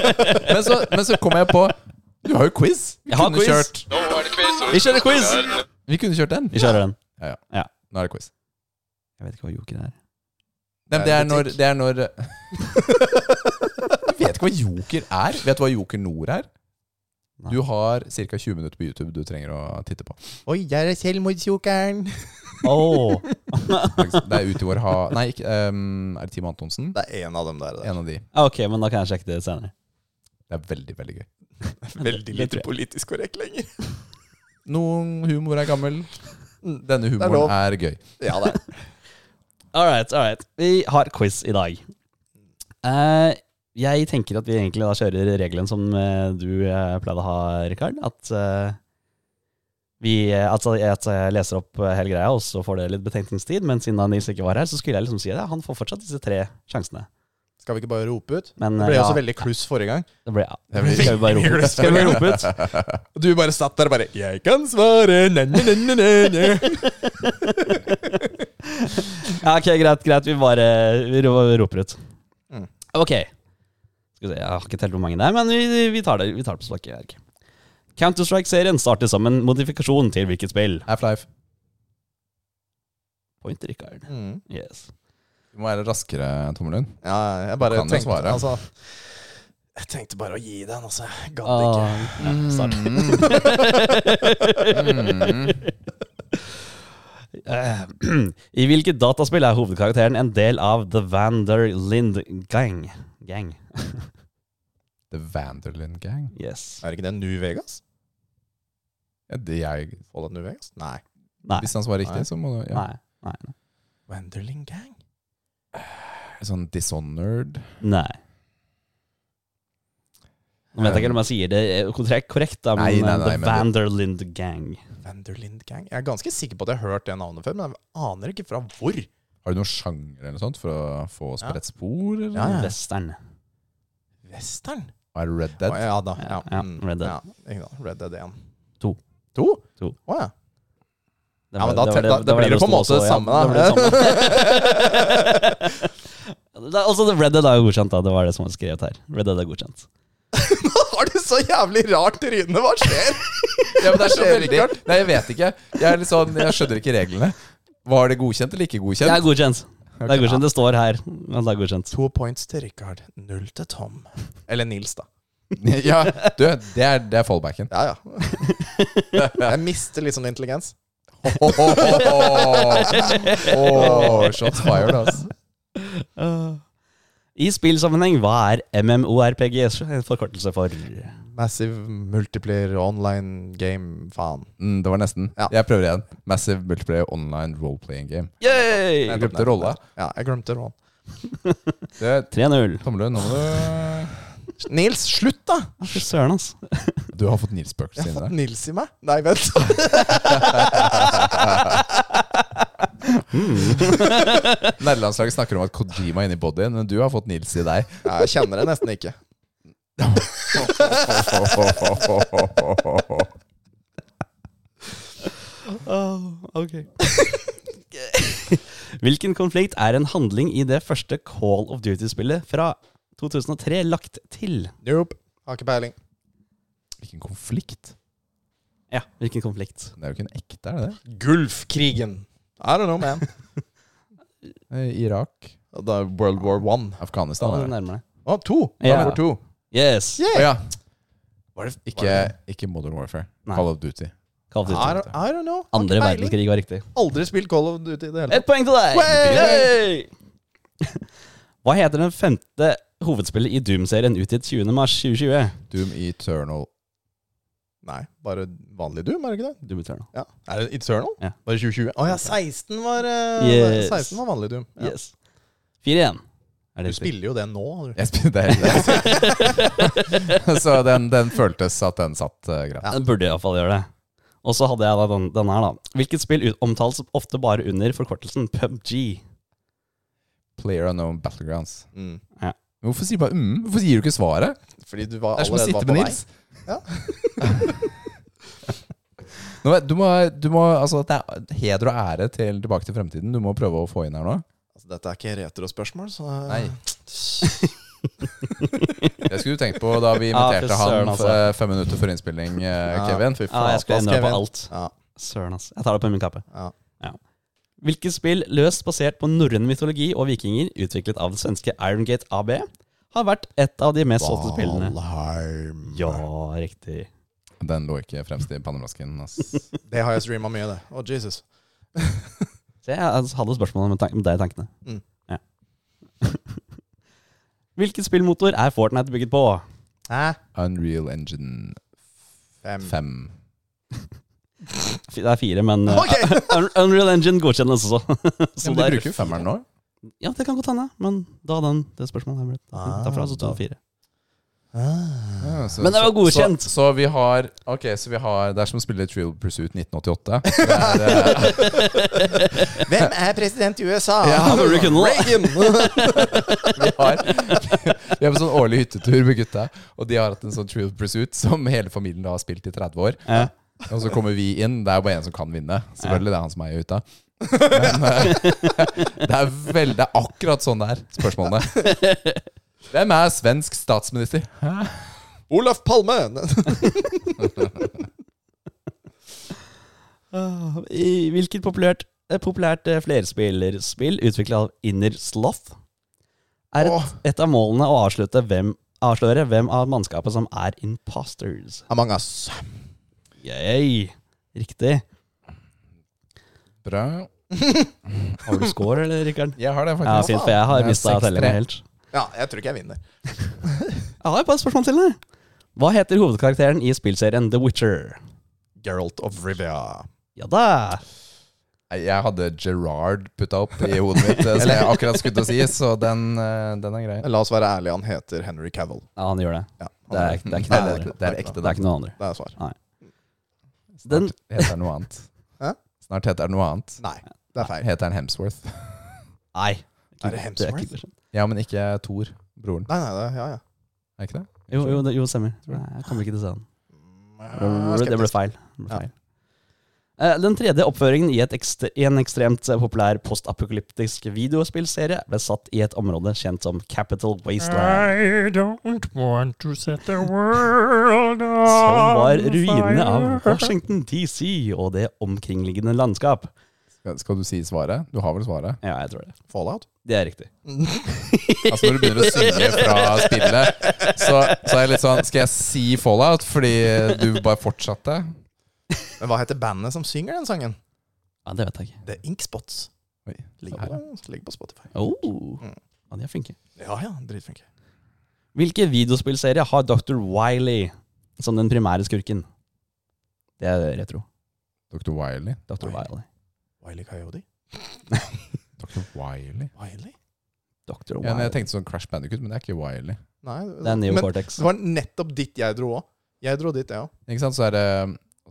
men, så, men så kom jeg på Du har jo quiz. Vi Jeg har kunne quiz. kjørt Vi kjører quiz! Vi kunne kjørt den. Vi kjører den. Ja, ja. Ja. Nå er det quiz. Jeg vet ikke hva joker er. Nei, men det, Det er er når, butikk. det er når Du vet ikke hva Joker er? Vet du hva Joker Nord er? Nei. Du har ca. 20 minutter på YouTube du trenger å titte på. Oi, der er selvmordsjokeren. Oh. Det er ut i vår ha... Nei, ikke, ehm, er det Team Antonsen? Det er en av dem der. der. En av de. Ah, Ok, men da kan jeg sjekke det senere. Det er veldig, veldig gøy. Det Veldig tror jeg. lite politisk korrekt lenger. Noen humor er gammel. Denne Mm. er lov. humoren er gøy. Ja, det er. All right, all right. Vi har quiz i dag. Eh, jeg tenker at vi egentlig da kjører regelen som eh, du eh, pleide å ha, Rikard. At eh, vi eh, Altså, jeg- at jeg leser opp eh, hele greia, og så får dere litt betenkningstid. Men siden da Nils ikke var her, så skulle jeg liksom si det. Han får fortsatt disse tre sjansene. Skal vi ikke bare rope ut? Men Det eh, ble ja, også veldig kluss forrige gang. det ble, ja. Det blir- Skal vi bare rope ut? Skal vi bare rope ut? Og du bare satt der og bare 'Jeg kan svare', na, na, na, na, na. Ja, ok, greit, greit. Vi bare vi ro- roper ut. Mm. Ok. Skal vi se, Jeg har ikke telt hvor mange det er, men vi, vi tar det Vi tar det på spakke. her. Counter-Strike-serien starter som en modifikasjon til hvilket spill? Half-Life. Point Rikard. Yes. Du må være raskere, Tommelund. Mm. Ja, jeg Du bare kan jo tenkte svare. altså, Jeg tenkte bare å gi den, altså. Jeg gadd ikke. Ah, Mm. ja, start. Eh, I hvilket dataspill er hovedkarakteren en del av The Vanderlind Gang? Gang, The Vanderlyn Gang. yes. Er det ikke det New Vegas? Ja, det jeg, Fallout New Vegas? Nei. Nei. hvis han svarer Nei. riktig, så må du ja. Nei. Nei. Wenderling Gang? Sånn Dishonored Nei. Nå vet jeg ikke om jeg sier det eh, korrekt, korrekt da, men Nei, nei, eh, nei, The men det- Vanderlind Gang. Vanderlind Gang? Jeg er ganske sikker på at jeg har hørt det navnet før, men jeg aner ikke fra hvor. Har du noen sjanger eller noe sånt for å få Ja. spredt spor? Eller? Ja, ja. Western. Western? Er det Red Dead? Å, ja da. Ja. Ja, Mm, Red Dead. Ja, ikke sant. Red Dead 1. To. To? To. Å ja. Det Ja, var- men da det var te- da- da var blir det på en sto måte også, ja. samme, da. Det blir det samme. Det er Altså, Red Dead er jo godkjent, da. Det var det som var skrevet her. Red Dead er godkjent. Nå har du så jævlig rart tryne! Hva skjer? Ja, men det er så Skjer det, veldig Nei, jeg vet ikke. Jeg, er litt sånn, jeg skjønner ikke reglene. Var det godkjent eller ikke Det er godkjent? godkjent. Det er godkjent, det står her. Men det er godkjent. To points til Richard, null til Tom. Eller Nils, da. Ja, du, det er, det er fallbacken. Ja, ja. Jeg mister litt sånn intelligens. Åh, shots fired, altså. Ah. I spillsammenheng, hva er MMORPG? En forkortelse for Massive multiplier online game, faen. Mm, det var nesten. Ja. Jeg prøver igjen. Massive multiplayer online role-playing game. Yay! Jeg glemte rolla. Ja, jeg glemte rollen. Det- 3-0. Tommelund, nå må du Nils, slutt, da! Å, Fy søren, altså. Du har fått Nils-spøkelset Jeg har fått inne. Nils i meg. Nei, vent. Nederlandslaget snakker om at Kojima er inni bodyen, men du har fått Nils i deg. Jeg kjenner det nesten ikke. Ah, Hvilken konflikt er en handling i det første Call of Duty-spillet fra 2003 lagt til? Nope. Har ikke peiling. Hvilken konflikt? Ja, hvilken konflikt? Det er jo ikke en ekte, er det det? Gulfkrigen. I don't know, man. Eh, Irak? Det er World War One. Afghanistan? Da Er det. nærmer deg. Å, to! Ja. Nummer to. Yes! Å ja. Var det, Ikke, ikke Modern Warfare. Nei. Call of Duty. Call of I, Duty. don't, I don't know. Har ikke Andre peiling. verdenskrig var riktig. Aldri spilt Call of Duty i det hele tatt. Ett poeng til deg! Way! Hva heter den femte hovedspillet i Doom-serien utgitt 20. mars 2020? Doom Eternal. Nei, bare vanlig Doom, er det ikke det? Doom Eternal. Ja. Er det Eternal? Ja. Var det 2020? Å ja, 16 var, eh, Yes. 16 var vanlig Doom. Ja. Yes. 4-1. Er Du det riktig? spiller jo det nå. Du. Jeg spilte det hele Så den, den føltes at den satt eh, greit. Ja, den burde iallfall gjøre det. Og så hadde jeg da den, denne her, da. Hvilket spill ut- omtales ofte bare under forkortelsen PubG? Player unknown battlegrounds. Mm. Men hvorfor sier du bare mm? Hvorfor sier du ikke svaret? Fordi du var Det er som å allerede sitte var på med vei. Nils. Nå, du må, du må, altså, det er heder og ære til Tilbake til fremtiden. Du må prøve å få inn her nå. Altså, dette er ikke retrospørsmål, så eh, Nei. Det skulle du tenkt på da vi Ja, inviterte fy søren, han altså. eh, fem minutter før innspilling, eh, Ja. Kevin. Fy Ja, jeg faen. skulle da endre skrev på jeg- alt. Ja, Søren, ass. Jeg tar det på min kappe. ja. Hvilket spill løst basert på norrøn mytologi og vikinger, utviklet av det svenske Irongate AB, har vært et av de mest solgte spillene? Valheim. Ja, riktig. Den lå ikke fremst i pannebrasken. ass. Det har jeg streama mye, det. Å, Jesus. Så jeg altså hadde spørsmålet med, tank med deg i tankene. Mm. Ja. Hvilken spillmotor er Fortnite bygget på? Hæ? Unreal Engine Fem. 5. Fi- Det er fire, men uh, Ok! Un- Unreal Engine godkjennes også. Så Ja, men det de er- bruker jo femmeren nå. Ja, det kan godt hende, men da den, det spørsmålet er blitt Ah, Derfra så sto da. det fire. Ah. Ja, så- Men det var så- godkjent. Så, så vi har Ok, så vi har Det er som å spille Trial Pursuit 1988. Det er, eh, Hvem er president i USA? Ja, burde du kunne det. Reagan! vi, har, vi er på sånn årlig hyttetur med gutta, og de har hatt en sånn Trial Pursuit som hele familien da har spilt i 30 år. Ja. Og så kommer vi inn. Det er jo bare én som kan vinne. Selvfølgelig, det er han som eier hytta. Men eh, det er veldig det er akkurat sånn det er, spørsmålene. Hvem er svensk statsminister? Olaf Palme! Ah, I hvilket populært, eh, populært eh, flerspillerspill utvikla av Inner Sloth er et, Åh. et av målene å avslutte hvem, avsløre hvem av mannskapet som er imposters. Among us. Yay. Riktig. Bra. Har du score, eller, Rikard? Jeg har det, Ja, faktisk. fint, for jeg Det har er mista 6-3. tellinga helt. Ja, jeg tror ikke jeg vinner. Jeg har bare et spørsmål til deg. Hva heter hovedkarakteren i spillserien The Witcher? Geralt of Rivia. Ja da. Nei, Jeg hadde Gerard putta opp i hodet mitt, eh, som jeg akkurat skulle til å si, så den, eh, den er grei. Men La oss være ærlige, han heter Henry Cavill. Ja, han gjør det. Ja, han Det er, det er ikke Nei, noe det andre. er- det er ekte, Det er ikke noe andre. Det er svar. Den, Snart heter den noe annet. Hæ? Snart heter den noe annet. Nei, det er feil. Heter den Hemsworth. nei. Er det er Hemsworth? ikke det. Ja, men ikke Thor, broren. Nei, nei, det, ja, ja. Er ikke det? Jo, jo, det- jo stemmer. Nei, jeg kommer ikke til å se den. Mm, jeg er Det ble skeptisk. feil. Det ble Ja. feil. Eh, Den tredje oppføringen i, et ekstre, i en ekstremt eh, populær postapokalyptisk videospillserie ble satt i et område kjent som Capital Wasteland, I don't want to set the world on som Ah, var ruinene av fire. Washington DC og det omkringliggende landskap. Skal- Skal du si svaret? Du har vel svaret? Ja, jeg tror det. Fallout? Det er riktig. Altså Når du begynner å synge fra spillet, så, så er jeg litt sånn Skal jeg si Fallout fordi du bare fortsatte? Men hva heter bandet som synger den sangen? Ja, det vet jeg ikke. Det er Inkspots. Oi, Ligger på, ligger på Spotify. Oh. Mm. Ja, de er flinke. Ja ja, dritflinke. Hvilke videospillserier har Dr. Wiley som den primære skurken? Det er retro. Dr. Wiley. Dr. Wiley. Wiley. Wiley Coyote? Dr. Wiley. Wiley? Dr. Ja, men Wiley. jeg tenkte sånn Crash Bandicoot, men det er ikke Wiley. Nei, Det er men Neocortex. det var nettopp dit jeg dro òg. Jeg dro dit, jeg òg. Ikke sant? Så er det,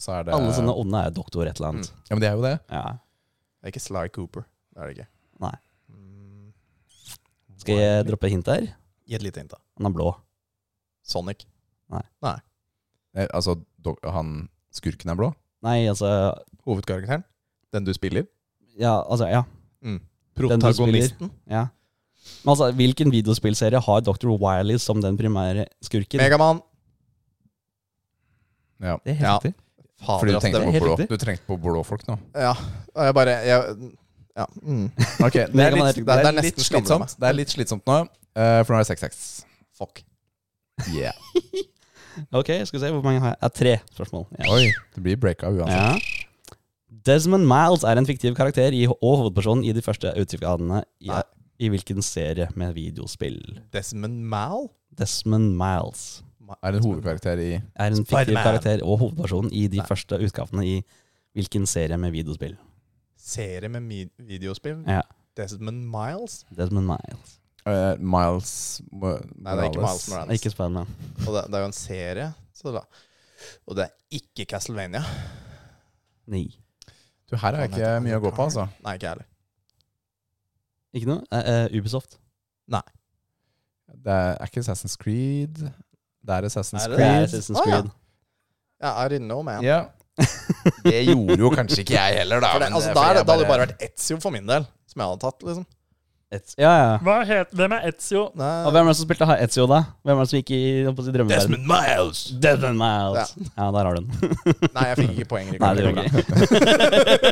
så er det Alle sånne onde er doktor et eller annet. Ja, men det er jo det. Ja. Det er ikke Sly Cooper. Det er det ikke. Nei. Mm. Skal jeg droppe hint her? Gi et lite hint, da. Han er blå. Sonic. Eh, Altså, do- han skurken er blå. Nei, altså Hovedkarakteren. Den du spiller. Mm. Ja, altså, ja. Den du Protagonisten. ja. Men altså, hvilken videospillserie har Dr. Wiley som den primære skurken? Megamann. Ja. Det er helt Ja. riktig. Fordi du tenkte, det er på helt blå. riktig. du tenkte på blå folk nå. Ja. og Jeg bare jeg, Ja. Mm. Ok, Det er Megaman er- litt, det det er er, nesten litt skammer meg. slitsomt Det er litt slitsomt nå, eh, for nå er det 6-6. Fuck. Yeah. Ok, skal vi se hvor mange har jeg? Ja, tre spørsmål. Ja. Oi, det blir breaka uansett. Ja. Desmond Miles er en fiktiv karakter i, og hovedpersonen i de første utviklingene i, Nei. i hvilken serie med videospill? Desmond Mal? Desmond Miles Er det en hovedkarakter i er en fiktiv Spider-Man. karakter og hovedpersonen i de Nei. første utgavene i hvilken serie med videospill? Serie med mi- videospill? Ja. Desmond Miles? Desmond Miles. eh, Miles Mo Nei, det er ikke Miles Morales. Ikke Spiderman. Og det, det er jo en serie. Så da. Og det er ikke Castlevania. Nei. Du, her er ikke mye å gå på, altså. Nei, ikke jeg heller. Ikke noe? Eh, eh, Ubisoft. Det er ikke Assassin's Creed. Det er Assassin's Er det Det er Creed. Assassin's Å, ja. Creed. Jeg er inne om jeg. Ja. Det gjorde jo kanskje ikke jeg heller, da. For det, men altså, fordi da, er det, jeg da hadde det bare vært Etzio for min del, som jeg hadde tatt. liksom. Et, ja, ja. Hva het, hvem er Etzio? Nei, Og hvem er det som spilte ha- Ezio, da? Hvem er det som gikk i holdt på å si, drømmeverdenen? Miles! Desmond Miles. Ja. der har du den. Nei, jeg fikk ikke poeng. Nei, det Rikard. gjorde jeg ikke.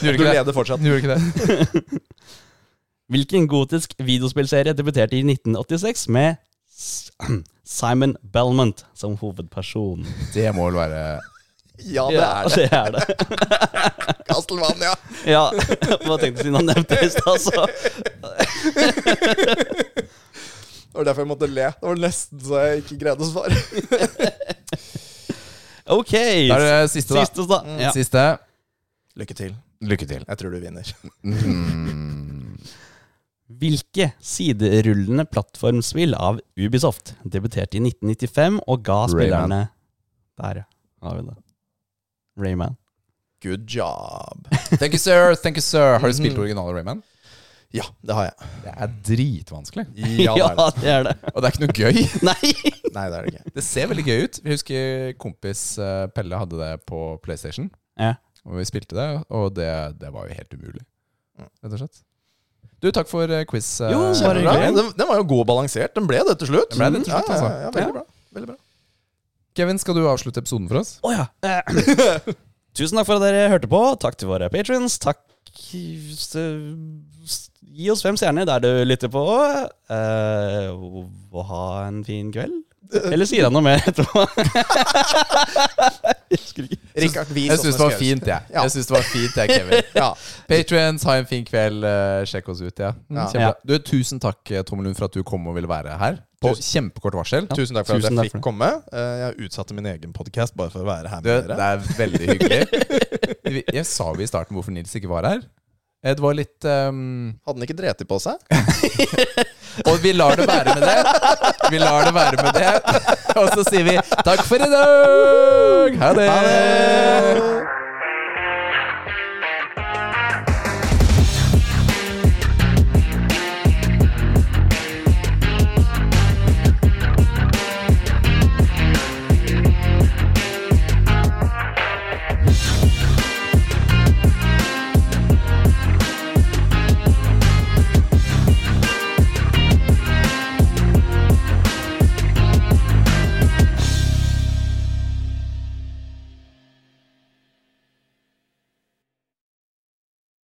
Du Du leder fortsatt. Gjorde ikke det? Hvilken gotisk videospillserie debuterte i 1986 med S- Simon Belmont som hovedperson? Det må vel være Ja, det er det. det er det. Castlevania. Ja, hva tenkte siden han nevnte det i stad, så Det var derfor jeg måtte le. Det var nesten så jeg ikke greide å svare. Ok. Da er det siste, da. Siste, da. Ja. Siste. Lykke til. Lykke til. Jeg tror du vinner. Mm. Hvilke siderullende plattformspill av Ubisoft debuterte i 1995 og ga Rayman. spillerne Der, ja. Har vi det. Rayman. Good job. Thank you, sir. Thank you, sir. Har du Mm. spilt originale Rayman? Ja, det har jeg. Det er dritvanskelig. Ja, det er det. det er det. Og det er ikke noe gøy. Nei! Nei, det er det ikke. Det ser veldig gøy ut. Jeg husker kompis eh, Pelle hadde det på PlayStation. Ja. Og vi spilte det, og det, det var jo helt umulig. Rett og slett. Du, takk for eh, quiz. eh, Jo, bare Kjempebra. Bra. hyggelig. Den, den var jo god og balansert. Den ble det til slutt. Den ble det til slutt, ja, ja, altså. ja, veldig Ja. bra. Veldig bra. Kevin, skal du avslutte episoden for oss? Å ja. Eh, Tusen takk for at dere hørte på. Takk til våre patrions. Takk s- s- Gi oss fem stjerner der du lytter på. Eh, og- og ha en fin kveld. Eller sier han noe mer etterpå? Jeg husker ikke. Rikard, vis Jeg hvordan syns det var skal gjøres. fint, jeg. Ja. Jeg synes det var fint, jeg, Kevin. Ja. Patrions, ha en fin kveld. eh, Sjekk oss ut, ja. Mm, Ja. kjempebra. Du, tusen takk, eh, Tommel Lund, for at du kom og ville være her. På kjempekort varsel. Tusen takk for Tusen takk at jeg for fikk komme. Eh, Jeg utsatte min egen podkast bare for å være her Du, med det dere. er veldig hyggelig. Jeg sa jo i starten hvorfor Nils ikke var her. Eh, Det var litt ehm, Hadde den ikke dreti på seg? Og vi lar det være med det. Vi lar det være med det. Og så sier vi takk for i dag! Ha det! Eh. Ha det!